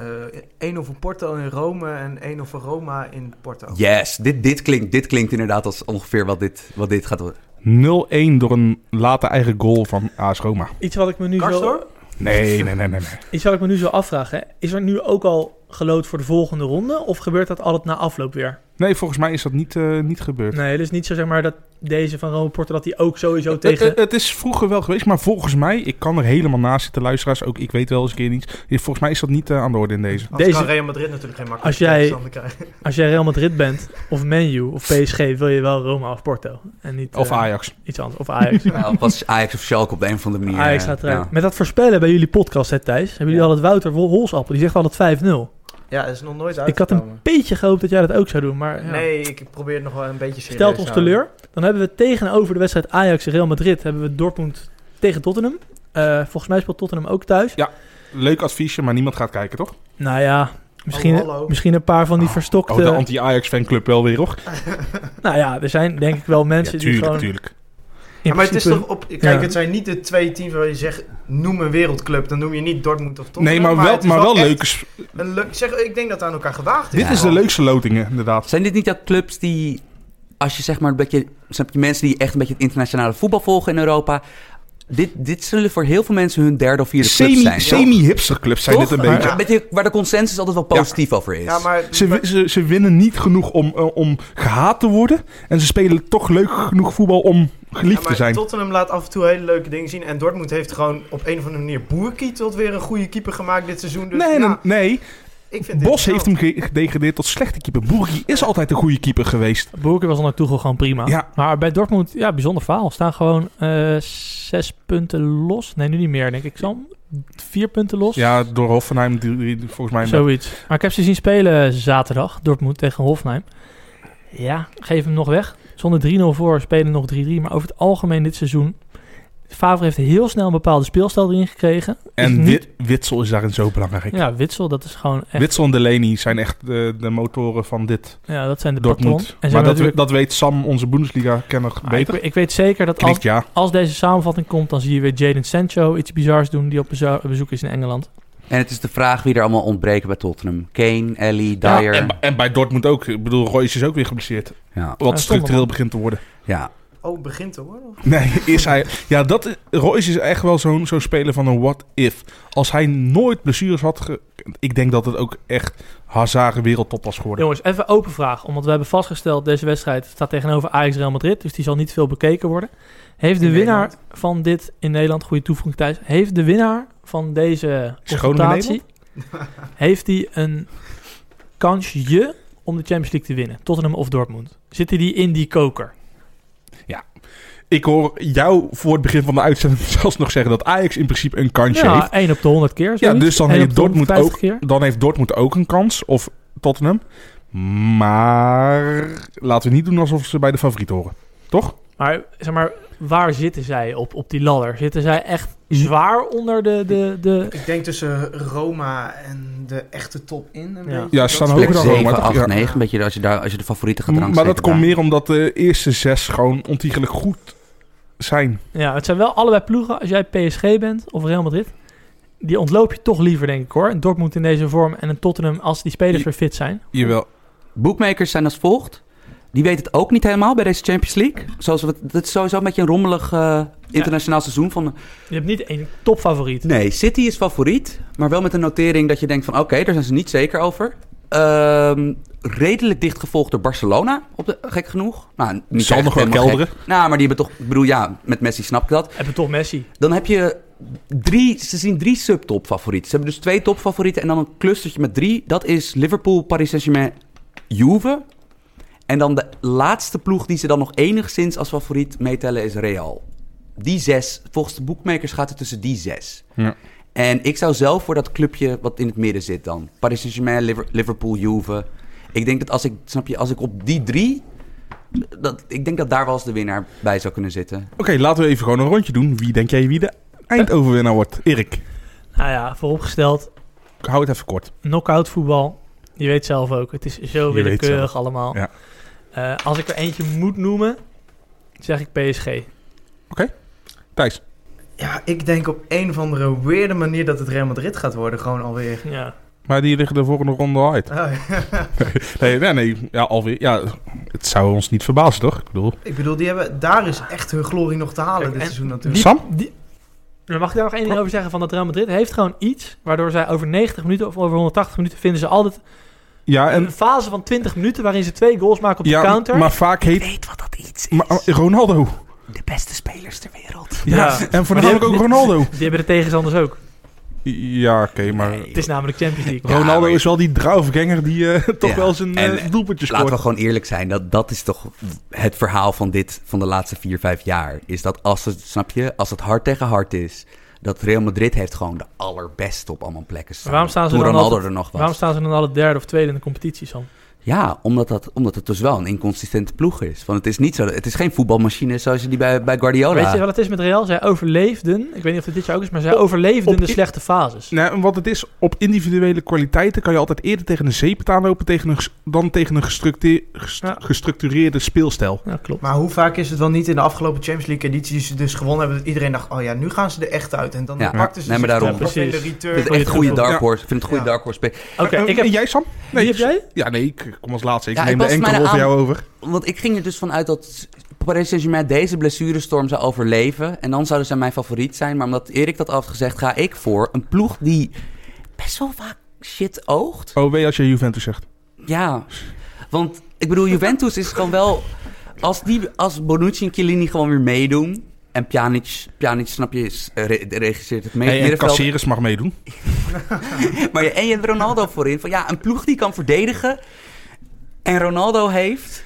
[SPEAKER 2] 1-0 voor Porto in Rome en 1-0 voor Roma in Porto.
[SPEAKER 4] Oh. Yes, dit, dit, klinkt, dit klinkt inderdaad als ongeveer wat dit, wat dit gaat worden.
[SPEAKER 3] 0-1 door een late eigen goal van AS Roma.
[SPEAKER 1] Iets wat ik me nu zo...
[SPEAKER 2] Karstor?
[SPEAKER 3] Nee, nee, nee, nee. nee.
[SPEAKER 1] Iets wat ik me nu zo afvraag, hè. is er nu ook al gelood voor de volgende ronde? Of gebeurt dat altijd na afloop weer?
[SPEAKER 3] Nee, volgens mij is dat niet, eh, niet gebeurd.
[SPEAKER 1] Nee, dus niet zo zeg maar dat deze van Rome Porto, dat die ook sowieso *laughs*
[SPEAKER 3] Het, eh,
[SPEAKER 1] tegen...
[SPEAKER 3] het- het is vroeger wel geweest, maar volgens mij, ik kan er helemaal naast zitten, luisteraars, ook ik weet wel eens een keer niets. Volgens mij is dat niet eh, aan de orde in deze.
[SPEAKER 2] Anders
[SPEAKER 1] Deze-
[SPEAKER 2] kan Real Madrid natuurlijk geen makkelijke
[SPEAKER 1] Als jij-
[SPEAKER 2] tegenstander krijgen. *laughs*
[SPEAKER 1] Als jij Real Madrid bent, of Man U, of PSG, wil je wel Roma of Porto. En niet
[SPEAKER 3] Of
[SPEAKER 1] eh,
[SPEAKER 3] Ajax.
[SPEAKER 1] iets anders. Of Ajax.
[SPEAKER 4] Nou, was Ajax of Schalke op de een of andere manier.
[SPEAKER 1] Ajax
[SPEAKER 4] eh,
[SPEAKER 1] gaat eruit.
[SPEAKER 4] ja.
[SPEAKER 1] Met dat voorspellen bij jullie podcast, hè, Thijs, hebben jullie
[SPEAKER 2] Ja.
[SPEAKER 1] al het Wouter Wol- Holsappel. Die zegt al het 5-0.
[SPEAKER 2] Ja, dat is nog nooit
[SPEAKER 1] Ik had een
[SPEAKER 2] uitgekomen.
[SPEAKER 1] beetje gehoopt dat jij dat ook zou doen, maar... ja.
[SPEAKER 2] Nee, ik probeer het nog wel een beetje serieus
[SPEAKER 1] Stelt ons
[SPEAKER 2] te houden.
[SPEAKER 1] teleur. Dan hebben we tegenover de wedstrijd Ajax en Real Madrid hebben we Dortmund tegen Tottenham. Eh, volgens mij speelt Tottenham ook thuis.
[SPEAKER 3] Leuk adviesje, maar niemand gaat kijken, toch?
[SPEAKER 1] Nou ja, misschien,
[SPEAKER 2] Hallo, hallo.
[SPEAKER 1] misschien een paar van die verstokte...
[SPEAKER 3] Oh, de anti-Ajax fanclub wel weer, hoor.
[SPEAKER 1] Nou ja, er zijn denk ik wel
[SPEAKER 3] Ja,
[SPEAKER 1] mensen die
[SPEAKER 3] tuurlijk,
[SPEAKER 1] gewoon...
[SPEAKER 3] tuurlijk.
[SPEAKER 1] in
[SPEAKER 2] Ja, maar het is
[SPEAKER 1] principe-
[SPEAKER 2] toch op... Kijk,
[SPEAKER 1] Ja.
[SPEAKER 2] het zijn niet de twee teams waar je zegt... noem een wereldclub. Dan noem je niet Dortmund of Tottenham.
[SPEAKER 3] Nee, maar
[SPEAKER 2] het
[SPEAKER 3] wel,
[SPEAKER 2] is
[SPEAKER 3] maar wel
[SPEAKER 2] echt
[SPEAKER 3] leuke... s-
[SPEAKER 2] een leuk- zeg, ik denk dat het aan elkaar gewaagd is.
[SPEAKER 3] Dit is de leukste lotingen, inderdaad.
[SPEAKER 4] Zijn dit niet ook clubs die, als je zeg maar een beetje, snap je, mensen die echt een beetje het internationale voetbal volgen in Europa, dit, dit zullen voor heel veel mensen hun derde of vierde club
[SPEAKER 3] Semi-
[SPEAKER 4] zijn.
[SPEAKER 3] Semi-hipster clubs zijn
[SPEAKER 4] Toch?
[SPEAKER 3] dit een
[SPEAKER 4] Maar-
[SPEAKER 3] beetje.
[SPEAKER 4] een beetje Waar de consensus altijd wel positief over is.
[SPEAKER 2] Ja, maar...
[SPEAKER 3] Ze, wi- ze, ze winnen niet genoeg om, eh, om gehaat te worden. En ze spelen toch leuk genoeg voetbal om
[SPEAKER 2] Ja,
[SPEAKER 3] geliefd
[SPEAKER 2] maar
[SPEAKER 3] te zijn.
[SPEAKER 2] Tottenham laat af en toe hele leuke dingen zien. En Dortmund heeft gewoon op een of andere manier Boerki tot weer een goede keeper gemaakt dit seizoen. Dus
[SPEAKER 3] Nee,
[SPEAKER 2] ja,
[SPEAKER 3] nee, nee.
[SPEAKER 2] ik vind dit
[SPEAKER 3] Bos
[SPEAKER 2] wel.
[SPEAKER 3] heeft hem ge- gedegradeerd tot slechte keeper. Boerki is altijd een goede keeper geweest.
[SPEAKER 1] Boerke was dan ook Tuchel gewoon prima.
[SPEAKER 3] Ja.
[SPEAKER 1] Maar bij Dortmund, ja, bijzonder faal. Staan gewoon eh, zes punten los. Nee, nu niet meer, denk ik. Sam, vier punten los.
[SPEAKER 3] Ja, door Hoffenheim die- die- die- volgens mij.
[SPEAKER 1] Zoiets. Maar ik heb ze zien spelen zaterdag. Dortmund tegen Hoffenheim. Ja, geef hem nog weg. Zonder 3-0 voor spelen nog 3-3. Maar over het algemeen dit seizoen... Favre heeft heel snel een bepaalde speelstijl erin gekregen.
[SPEAKER 3] En
[SPEAKER 1] Is niet-
[SPEAKER 3] Wit- Witsel is daarin zo belangrijk.
[SPEAKER 1] Ja, Witsel, dat is gewoon echt...
[SPEAKER 3] Witsel en Delaney zijn echt de, de motoren van dit
[SPEAKER 1] Ja, dat zijn de patronen.
[SPEAKER 3] Dortmund. Maar dat, we- dat weet Sam, onze Bundesliga-kenner,
[SPEAKER 1] Ah,
[SPEAKER 3] beter.
[SPEAKER 1] Ik, ik weet zeker dat als,
[SPEAKER 3] Knikt ja.
[SPEAKER 1] als deze samenvatting komt, dan zie je weer Jaden Sancho iets bizars doen die op bezo- bezoek is in Engeland.
[SPEAKER 4] En het is de vraag wie er allemaal ontbreken bij Tottenham. Kane, Ellie,
[SPEAKER 3] Ja,
[SPEAKER 4] Dyer. Ja,
[SPEAKER 3] en, en bij Dortmund ook. Ik bedoel, Royce is ook weer geblesseerd.
[SPEAKER 4] ja.
[SPEAKER 3] Wat
[SPEAKER 1] Ja,
[SPEAKER 3] structureel
[SPEAKER 1] Sommerman.
[SPEAKER 3] begint te worden. *laughs*
[SPEAKER 2] Oh, begint te worden.
[SPEAKER 3] Nee, is hij... Ja, dat, Royce is echt wel zo'n zo'n speler van een what if. Als hij nooit blessures had... ge- ik denk dat het ook echt Hazard wereldtop was geworden.
[SPEAKER 1] Jongens, even open vraag, omdat we hebben vastgesteld deze wedstrijd staat tegenover Ajax Real Madrid, dus die zal niet veel bekeken worden. Heeft de
[SPEAKER 2] In
[SPEAKER 1] winnaar
[SPEAKER 2] Nederland.
[SPEAKER 1] van dit in Nederland, goede toevoeging thuis, heeft de winnaar van deze
[SPEAKER 3] Is Groningen
[SPEAKER 1] confrontatie, *laughs* heeft hij een kansje om de Champions League te winnen, Tottenham of Dortmund? Zitten die in die koker?
[SPEAKER 3] Ik hoor jou voor het begin van de uitzending *laughs* zelfs nog zeggen... dat Ajax in principe een kansje heeft.
[SPEAKER 1] Ja, 1 op de 100 keer. zoiets.
[SPEAKER 3] dus dan
[SPEAKER 1] Eén
[SPEAKER 3] heeft
[SPEAKER 1] op de
[SPEAKER 3] Dortmund
[SPEAKER 1] 150
[SPEAKER 3] ook-
[SPEAKER 1] keer.
[SPEAKER 3] Dan heeft Dortmund ook een kans, of Tottenham. Maar laten we niet doen alsof ze bij de favoriet horen. Toch?
[SPEAKER 1] Maar zeg maar, waar zitten zij op, op die ladder? Zitten zij echt zwaar onder de... de, de...
[SPEAKER 2] Ik denk tussen Roma en de echte top in. Een
[SPEAKER 1] Ja.
[SPEAKER 2] beetje.
[SPEAKER 3] Ja,
[SPEAKER 2] Dat
[SPEAKER 3] ze staan
[SPEAKER 2] is-
[SPEAKER 3] hoger
[SPEAKER 4] Plek
[SPEAKER 3] dan
[SPEAKER 4] 7,
[SPEAKER 3] Roma, toch?
[SPEAKER 4] 8,
[SPEAKER 3] Ja.
[SPEAKER 4] 9. Een beetje als je, daar, als je de favorieten gaat
[SPEAKER 3] maar
[SPEAKER 4] rangsteken
[SPEAKER 3] dat komt
[SPEAKER 4] daar.
[SPEAKER 3] meer omdat de eerste zes gewoon ontiegelijk goed zijn.
[SPEAKER 1] Ja, het zijn wel allebei ploegen. Als jij PSG bent of Real Madrid, die ontloop je toch liever, denk ik hoor. Een Dortmund in deze vorm en een Tottenham als die spelers
[SPEAKER 3] Je-
[SPEAKER 1] weer fit zijn.
[SPEAKER 3] Jawel.
[SPEAKER 4] Boekmakers zijn als volgt. Die weet het ook niet helemaal bij deze Champions League. Zoals we, dat is sowieso een beetje een rommelig eh, internationaal seizoen. Van,
[SPEAKER 1] Je hebt niet één topfavoriet.
[SPEAKER 4] nee, City is favoriet. Maar wel met een notering dat je denkt van... Oké, daar zijn ze niet zeker over. Ehm, redelijk dicht gevolgd door Barcelona. Op de, gek genoeg. Nou, niet
[SPEAKER 3] Die zal
[SPEAKER 4] echt
[SPEAKER 3] nog wel
[SPEAKER 4] helemaal
[SPEAKER 3] kelderen.
[SPEAKER 4] gek. Nou, maar die hebben toch... Ik bedoel, ja, met Messi snap ik dat.
[SPEAKER 1] Hebben toch Messi.
[SPEAKER 4] Dan heb je drie, ze zien drie subtopfavorieten. Ze hebben dus twee topfavorieten en dan een clustertje met drie. Dat is Liverpool, Paris Saint-Germain, Juve. En dan de laatste ploeg die ze dan nog enigszins als favoriet meetellen is Real. Die zes, volgens de boekmakers gaat het tussen die zes.
[SPEAKER 3] Ja.
[SPEAKER 4] En ik zou zelf voor dat clubje wat in het midden zit dan. Paris Saint-Germain, Liver- Liverpool, Juve. Ik denk dat als ik, snap je, als ik op die drie... Dat, ik denk dat daar wel eens de winnaar bij zou kunnen zitten.
[SPEAKER 3] Oké, laten we even gewoon een rondje doen. Wie denk jij wie de eindoverwinnaar wordt? Erik,
[SPEAKER 1] Nou ja, vooropgesteld,
[SPEAKER 3] hou het even kort.
[SPEAKER 1] knock-out voetbal. Je weet zelf ook, het is zo
[SPEAKER 3] Je weet
[SPEAKER 1] willekeurig
[SPEAKER 3] zelf.
[SPEAKER 1] allemaal.
[SPEAKER 3] Ja.
[SPEAKER 1] Eh, als ik er eentje moet noemen, zeg ik PSG.
[SPEAKER 3] Thijs,
[SPEAKER 2] Ja, ik denk op een of andere weirde manier dat het Real Madrid gaat worden, gewoon *laughs* alweer.
[SPEAKER 1] Ja.
[SPEAKER 3] maar die liggen de volgende ronde al uit.
[SPEAKER 2] Oh,
[SPEAKER 3] *laughs* Nee, nee, nee. Ja, alweer. Ja, het zou ons niet verbazen, toch? Ik bedoel,
[SPEAKER 2] ik bedoel, die hebben, daar is echt hun glorie nog te halen
[SPEAKER 1] Kijk,
[SPEAKER 2] dit
[SPEAKER 1] en
[SPEAKER 2] seizoen natuurlijk.
[SPEAKER 1] Die-
[SPEAKER 3] Sam?
[SPEAKER 1] die- Maar mag ik daar nog één ding over zeggen? Van dat Real Madrid heeft gewoon iets waardoor zij over 90 minuten of over 180 minuten vinden ze altijd
[SPEAKER 3] Ja, Ah, en...
[SPEAKER 1] een fase van 20 minuten waarin ze twee goals maken op de
[SPEAKER 3] ja,
[SPEAKER 1] counter.
[SPEAKER 3] maar vaak heet...
[SPEAKER 4] Weet wat dat iets
[SPEAKER 3] Maar, maar Ronaldo.
[SPEAKER 4] De beste spelers ter wereld.
[SPEAKER 1] Ja.
[SPEAKER 3] Ja. En voornamelijk ook
[SPEAKER 1] Maar die-
[SPEAKER 3] Ronaldo.
[SPEAKER 1] Die hebben de tegenstanders ook.
[SPEAKER 3] Ja, oké, maar...
[SPEAKER 4] Nee.
[SPEAKER 1] Het is namelijk Champions League.
[SPEAKER 3] Ronaldo
[SPEAKER 4] maar je-
[SPEAKER 3] is wel die draufganger die eh, *laughs* toch
[SPEAKER 4] Ja,
[SPEAKER 3] wel zijn
[SPEAKER 4] en-
[SPEAKER 3] eh, doelpuntje
[SPEAKER 4] Laten we
[SPEAKER 3] scoort.
[SPEAKER 4] gewoon eerlijk zijn. Dat, dat is toch het verhaal van dit, van de laatste vier, vijf jaar. Is dat als het, snap je, als het hard tegen hard is. Dat Real Madrid heeft gewoon de allerbeste op allemaal plekken staan.
[SPEAKER 1] Maar waarom staan ze
[SPEAKER 4] Toen
[SPEAKER 1] dan
[SPEAKER 4] Ronaldo
[SPEAKER 1] altijd-
[SPEAKER 4] er nog was.
[SPEAKER 1] Waarom staan ze dan alle derde of tweede in de competitie, Sam?
[SPEAKER 4] Ja, omdat, dat, omdat het dus wel een inconsistente ploeg is. Want het is niet zo, het is geen voetbalmachine zoals je die bij, bij Guardiola.
[SPEAKER 1] Weet je wat het is met Real? Zij overleefden, ik weet niet of het dit jaar ook is, maar zij overleefden
[SPEAKER 3] op-
[SPEAKER 1] de slechte fases.
[SPEAKER 3] Nee, Nou, en wat het is, op individuele kwaliteiten kan je altijd eerder tegen een zeepet aanlopen tegen een, ges- dan tegen een gestructe- gest-
[SPEAKER 1] Ja.
[SPEAKER 3] gestructureerde speelstijl.
[SPEAKER 1] Ja, klopt.
[SPEAKER 2] Maar hoe vaak is het wel niet in de afgelopen Champions League editie die ze dus gewonnen hebben, dat iedereen dacht, oh ja, nu gaan ze er echt uit. En dan
[SPEAKER 4] Ja.
[SPEAKER 2] pakten ze
[SPEAKER 4] Nee, maar
[SPEAKER 2] zich
[SPEAKER 4] daarom.
[SPEAKER 2] toch nog in de
[SPEAKER 1] Precies.
[SPEAKER 4] Ik
[SPEAKER 2] return.
[SPEAKER 4] vind het echt een goede
[SPEAKER 1] Ja.
[SPEAKER 4] dark horse. Ik vind het een
[SPEAKER 2] Ja.
[SPEAKER 4] goede dark horse. spelen.
[SPEAKER 1] Oké,
[SPEAKER 3] Eh,
[SPEAKER 1] ik heb...
[SPEAKER 3] En jij, Sam?
[SPEAKER 1] Wie heb jij?
[SPEAKER 3] Ja, nee, ik kom als laatste. Ik
[SPEAKER 4] Ja, ik
[SPEAKER 3] neem de
[SPEAKER 4] was
[SPEAKER 3] enkele
[SPEAKER 4] mij
[SPEAKER 3] rol voor
[SPEAKER 4] aan-
[SPEAKER 3] jou over.
[SPEAKER 4] Want ik ging er dus vanuit dat Paris Saint-Germain deze blessurestorm zou overleven. En dan zouden zij mijn favoriet zijn. Maar omdat Erik dat al heeft gezegd, ga ik voor een ploeg die best wel vaak shit oogt.
[SPEAKER 3] Oh, weet je als je Juventus zegt.
[SPEAKER 4] Ja, want ik bedoel, Juventus is gewoon wel... Als, die, als Bonucci en Chiellini gewoon weer meedoen... En Pjanic, Pjanic snap je, is, eh, re- regisseert het mee.
[SPEAKER 3] Hey, en
[SPEAKER 4] middenveld.
[SPEAKER 3] Caceres mag meedoen.
[SPEAKER 4] Maar je, en je hebt Ronaldo voorin. Van, ja, een ploeg die kan verdedigen. En Ronaldo heeft...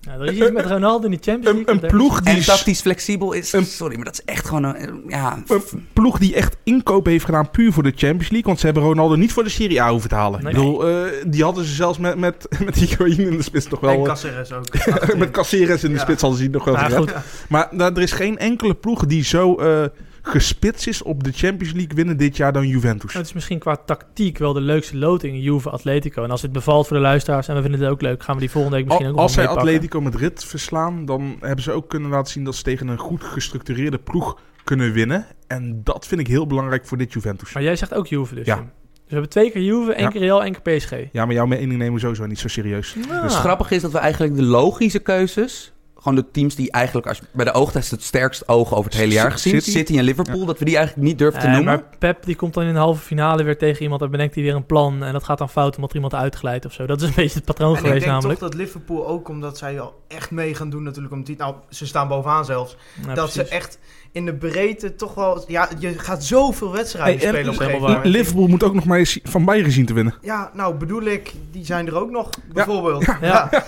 [SPEAKER 1] Nou, er is iets met Ronaldo in de Champions League.
[SPEAKER 3] Een, een,
[SPEAKER 1] want daar-
[SPEAKER 3] ploeg die,
[SPEAKER 4] En
[SPEAKER 3] s-
[SPEAKER 4] tactisch flexibel is.
[SPEAKER 3] Een-
[SPEAKER 4] Sorry, maar dat is echt gewoon een... eh, Ja,
[SPEAKER 3] een ploeg die echt inkopen heeft gedaan puur voor de Champions League. Want ze hebben Ronaldo niet voor de Serie A hoeven te halen.
[SPEAKER 1] Nee.
[SPEAKER 3] Ik bedoel, eh, die hadden ze zelfs met, met, *laughs* met Higuain in de spits nog
[SPEAKER 2] En
[SPEAKER 3] wel... eh,
[SPEAKER 2] Caceres ook.
[SPEAKER 3] *laughs* met Caceres in de
[SPEAKER 2] Ja.
[SPEAKER 3] spits hadden ze die nog wel
[SPEAKER 1] Nou,
[SPEAKER 3] gered.
[SPEAKER 1] goed.
[SPEAKER 3] Maar nou, er is geen enkele ploeg die zo eh, gespitst is op de Champions League winnen dit jaar dan Juventus.
[SPEAKER 1] Het is misschien qua tactiek wel de leukste loting, Juve Atletico. En als dit bevalt voor de luisteraars en we vinden het ook leuk, gaan we die volgende week misschien
[SPEAKER 3] Al-
[SPEAKER 1] ook
[SPEAKER 3] als zij
[SPEAKER 1] nog meepakken.
[SPEAKER 3] Atletico Madrid verslaan, dan hebben ze ook kunnen laten zien dat ze tegen een goed gestructureerde ploeg kunnen winnen. En dat vind ik heel belangrijk voor dit Juventus.
[SPEAKER 1] Maar jij zegt ook Juve dus.
[SPEAKER 3] Ja.
[SPEAKER 1] Jim. Dus we hebben twee keer Juve, één
[SPEAKER 3] Ja.
[SPEAKER 1] keer Real, één keer PSG.
[SPEAKER 3] Ja, maar jouw mening nemen we sowieso niet zo serieus.
[SPEAKER 1] Nou,
[SPEAKER 4] Dus het grappige is dat we eigenlijk de logische keuzes. Gewoon de teams die eigenlijk als, bij de oogtest het sterkst ogen over het hele jaar gezien.
[SPEAKER 3] City.
[SPEAKER 4] City, en Liverpool. Dat we die eigenlijk niet durven te
[SPEAKER 1] eh,
[SPEAKER 4] noemen.
[SPEAKER 1] maar Pep die komt dan in de halve finale weer tegen iemand en bedenkt hij weer een plan. En dat gaat dan fout omdat er iemand uitglijdt of zo. Dat is een *laughs* beetje het patroon
[SPEAKER 2] En ik
[SPEAKER 1] geweest
[SPEAKER 2] denk
[SPEAKER 1] namelijk.
[SPEAKER 2] toch dat Liverpool ook, omdat zij al echt mee gaan doen natuurlijk om die... Nou, ze staan bovenaan zelfs.
[SPEAKER 1] Ja,
[SPEAKER 2] dat
[SPEAKER 1] precies.
[SPEAKER 2] ze echt in de breedte toch wel... Ja, je gaat zoveel wedstrijden
[SPEAKER 3] Hey, en-
[SPEAKER 2] spelen op een
[SPEAKER 1] dat is
[SPEAKER 2] gegeven moment.
[SPEAKER 3] Liverpool moet ook nog maar eens van Bayern zien te winnen. *laughs*
[SPEAKER 2] Ja, nou bedoel ik, die zijn er ook nog, bijvoorbeeld. Ja,
[SPEAKER 1] Ja.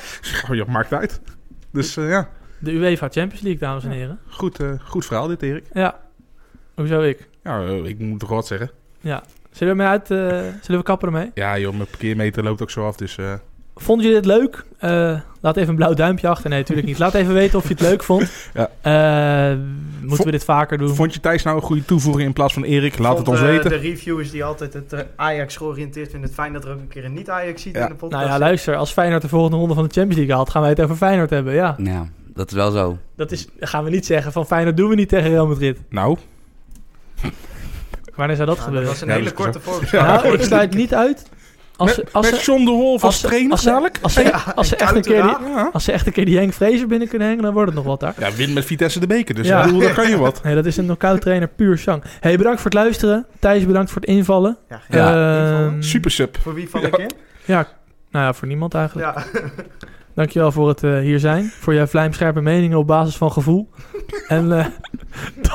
[SPEAKER 3] Oh, ja, maakt uit. Dus eh, ja,
[SPEAKER 1] De UEFA Champions League, dames en heren.
[SPEAKER 3] goed, eh, goed verhaal dit, Erik.
[SPEAKER 1] Ja. Hoezo ik?
[SPEAKER 3] Ja, eh, ik moet toch wat zeggen.
[SPEAKER 1] Zullen we, ermee uit, eh, zullen we kappen ermee?
[SPEAKER 3] Ja joh, mijn parkeermeter loopt ook zo af, dus... eh,
[SPEAKER 1] Vonden jullie dit leuk? Eh, laat even een blauw duimpje achter. Nee, natuurlijk niet. Laat even weten of je het leuk vond.
[SPEAKER 3] Ja.
[SPEAKER 1] Eh, moeten
[SPEAKER 3] Vo-
[SPEAKER 1] we dit vaker doen?
[SPEAKER 3] Vond je Thijs nou een goede toevoeging in plaats van Erik? Laat het ons weten.
[SPEAKER 2] eh, De reviewers die altijd het eh, Ajax georiënteerd vinden, het fijn dat er ook een keer een niet-Ajax ziet
[SPEAKER 3] Ja.
[SPEAKER 2] in de podcast.
[SPEAKER 1] Nou ja, luister. Als Feyenoord de volgende ronde van de Champions League haalt, gaan wij het over Feyenoord hebben. Ja,
[SPEAKER 4] Nou, dat is wel zo.
[SPEAKER 1] dat is, gaan we niet zeggen van Feyenoord doen we niet tegen Real Madrid.
[SPEAKER 3] Nou,
[SPEAKER 1] Wanneer zou dat
[SPEAKER 2] Ja, dat
[SPEAKER 1] gebeuren?
[SPEAKER 2] was een
[SPEAKER 3] Ja,
[SPEAKER 2] hele
[SPEAKER 3] dat is
[SPEAKER 2] korte
[SPEAKER 3] zo.
[SPEAKER 2] voorbeschouwing.
[SPEAKER 1] Nou, ik sluit niet uit Als
[SPEAKER 3] met,
[SPEAKER 1] ze, als
[SPEAKER 3] met
[SPEAKER 1] ze,
[SPEAKER 3] John de Wolf als,
[SPEAKER 1] als ze-
[SPEAKER 3] trainer
[SPEAKER 1] als ze-
[SPEAKER 3] dadelijk?
[SPEAKER 2] *laughs*
[SPEAKER 1] als ze, als, ze
[SPEAKER 2] en
[SPEAKER 1] echt een keer die,
[SPEAKER 2] Kuitenraad.
[SPEAKER 3] Ja.
[SPEAKER 1] als ze echt een keer die Henk Vrezer binnen kunnen hangen, dan wordt het nog wat daar.
[SPEAKER 3] ja, win met Vitesse de beker. Dus
[SPEAKER 1] Ja.
[SPEAKER 3] ik bedoel, dan kan je *laughs* wat.
[SPEAKER 1] Nee, dat is een knockout trainer puur zang. hey, bedankt voor het luisteren. Thijs, bedankt voor het invallen.
[SPEAKER 2] Ja, geen-
[SPEAKER 1] Ja,
[SPEAKER 2] invallen.
[SPEAKER 3] Super sub.
[SPEAKER 2] Voor wie val
[SPEAKER 3] Ja.
[SPEAKER 2] ik in?
[SPEAKER 1] Ja, nou ja, voor niemand eigenlijk. *laughs*
[SPEAKER 2] Ja.
[SPEAKER 1] Dankjewel voor het eh, hier zijn. Voor jouw vlijmscherpe meningen op basis van gevoel. en eh,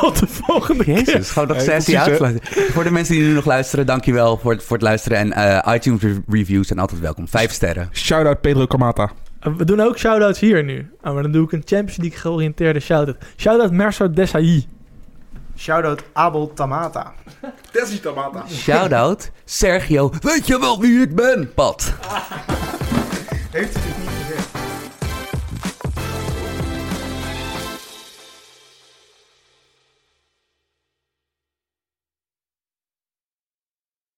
[SPEAKER 1] tot de volgende keer.
[SPEAKER 4] Jezus, gewoon dat
[SPEAKER 3] Nee,
[SPEAKER 4] sessie
[SPEAKER 3] precies, hè.
[SPEAKER 4] uitsluiten. *laughs* Voor de mensen die nu nog luisteren, dankjewel voor het, voor het luisteren. En eh, iTunes re- reviews zijn altijd welkom. Vijf sterren.
[SPEAKER 3] Shout-out Pedro Camata.
[SPEAKER 1] Uh, We doen ook shout-outs hier nu. Ah, maar dan doe ik een Champions League georiënteerde shout-out. Shout-out Mercer Desai.
[SPEAKER 2] Shoutout Abel Tamata.
[SPEAKER 3] Tessie Camata.
[SPEAKER 4] Shoutout Sergio, weet je wel wie ik ben, Pat.
[SPEAKER 2] Heeft hij het niet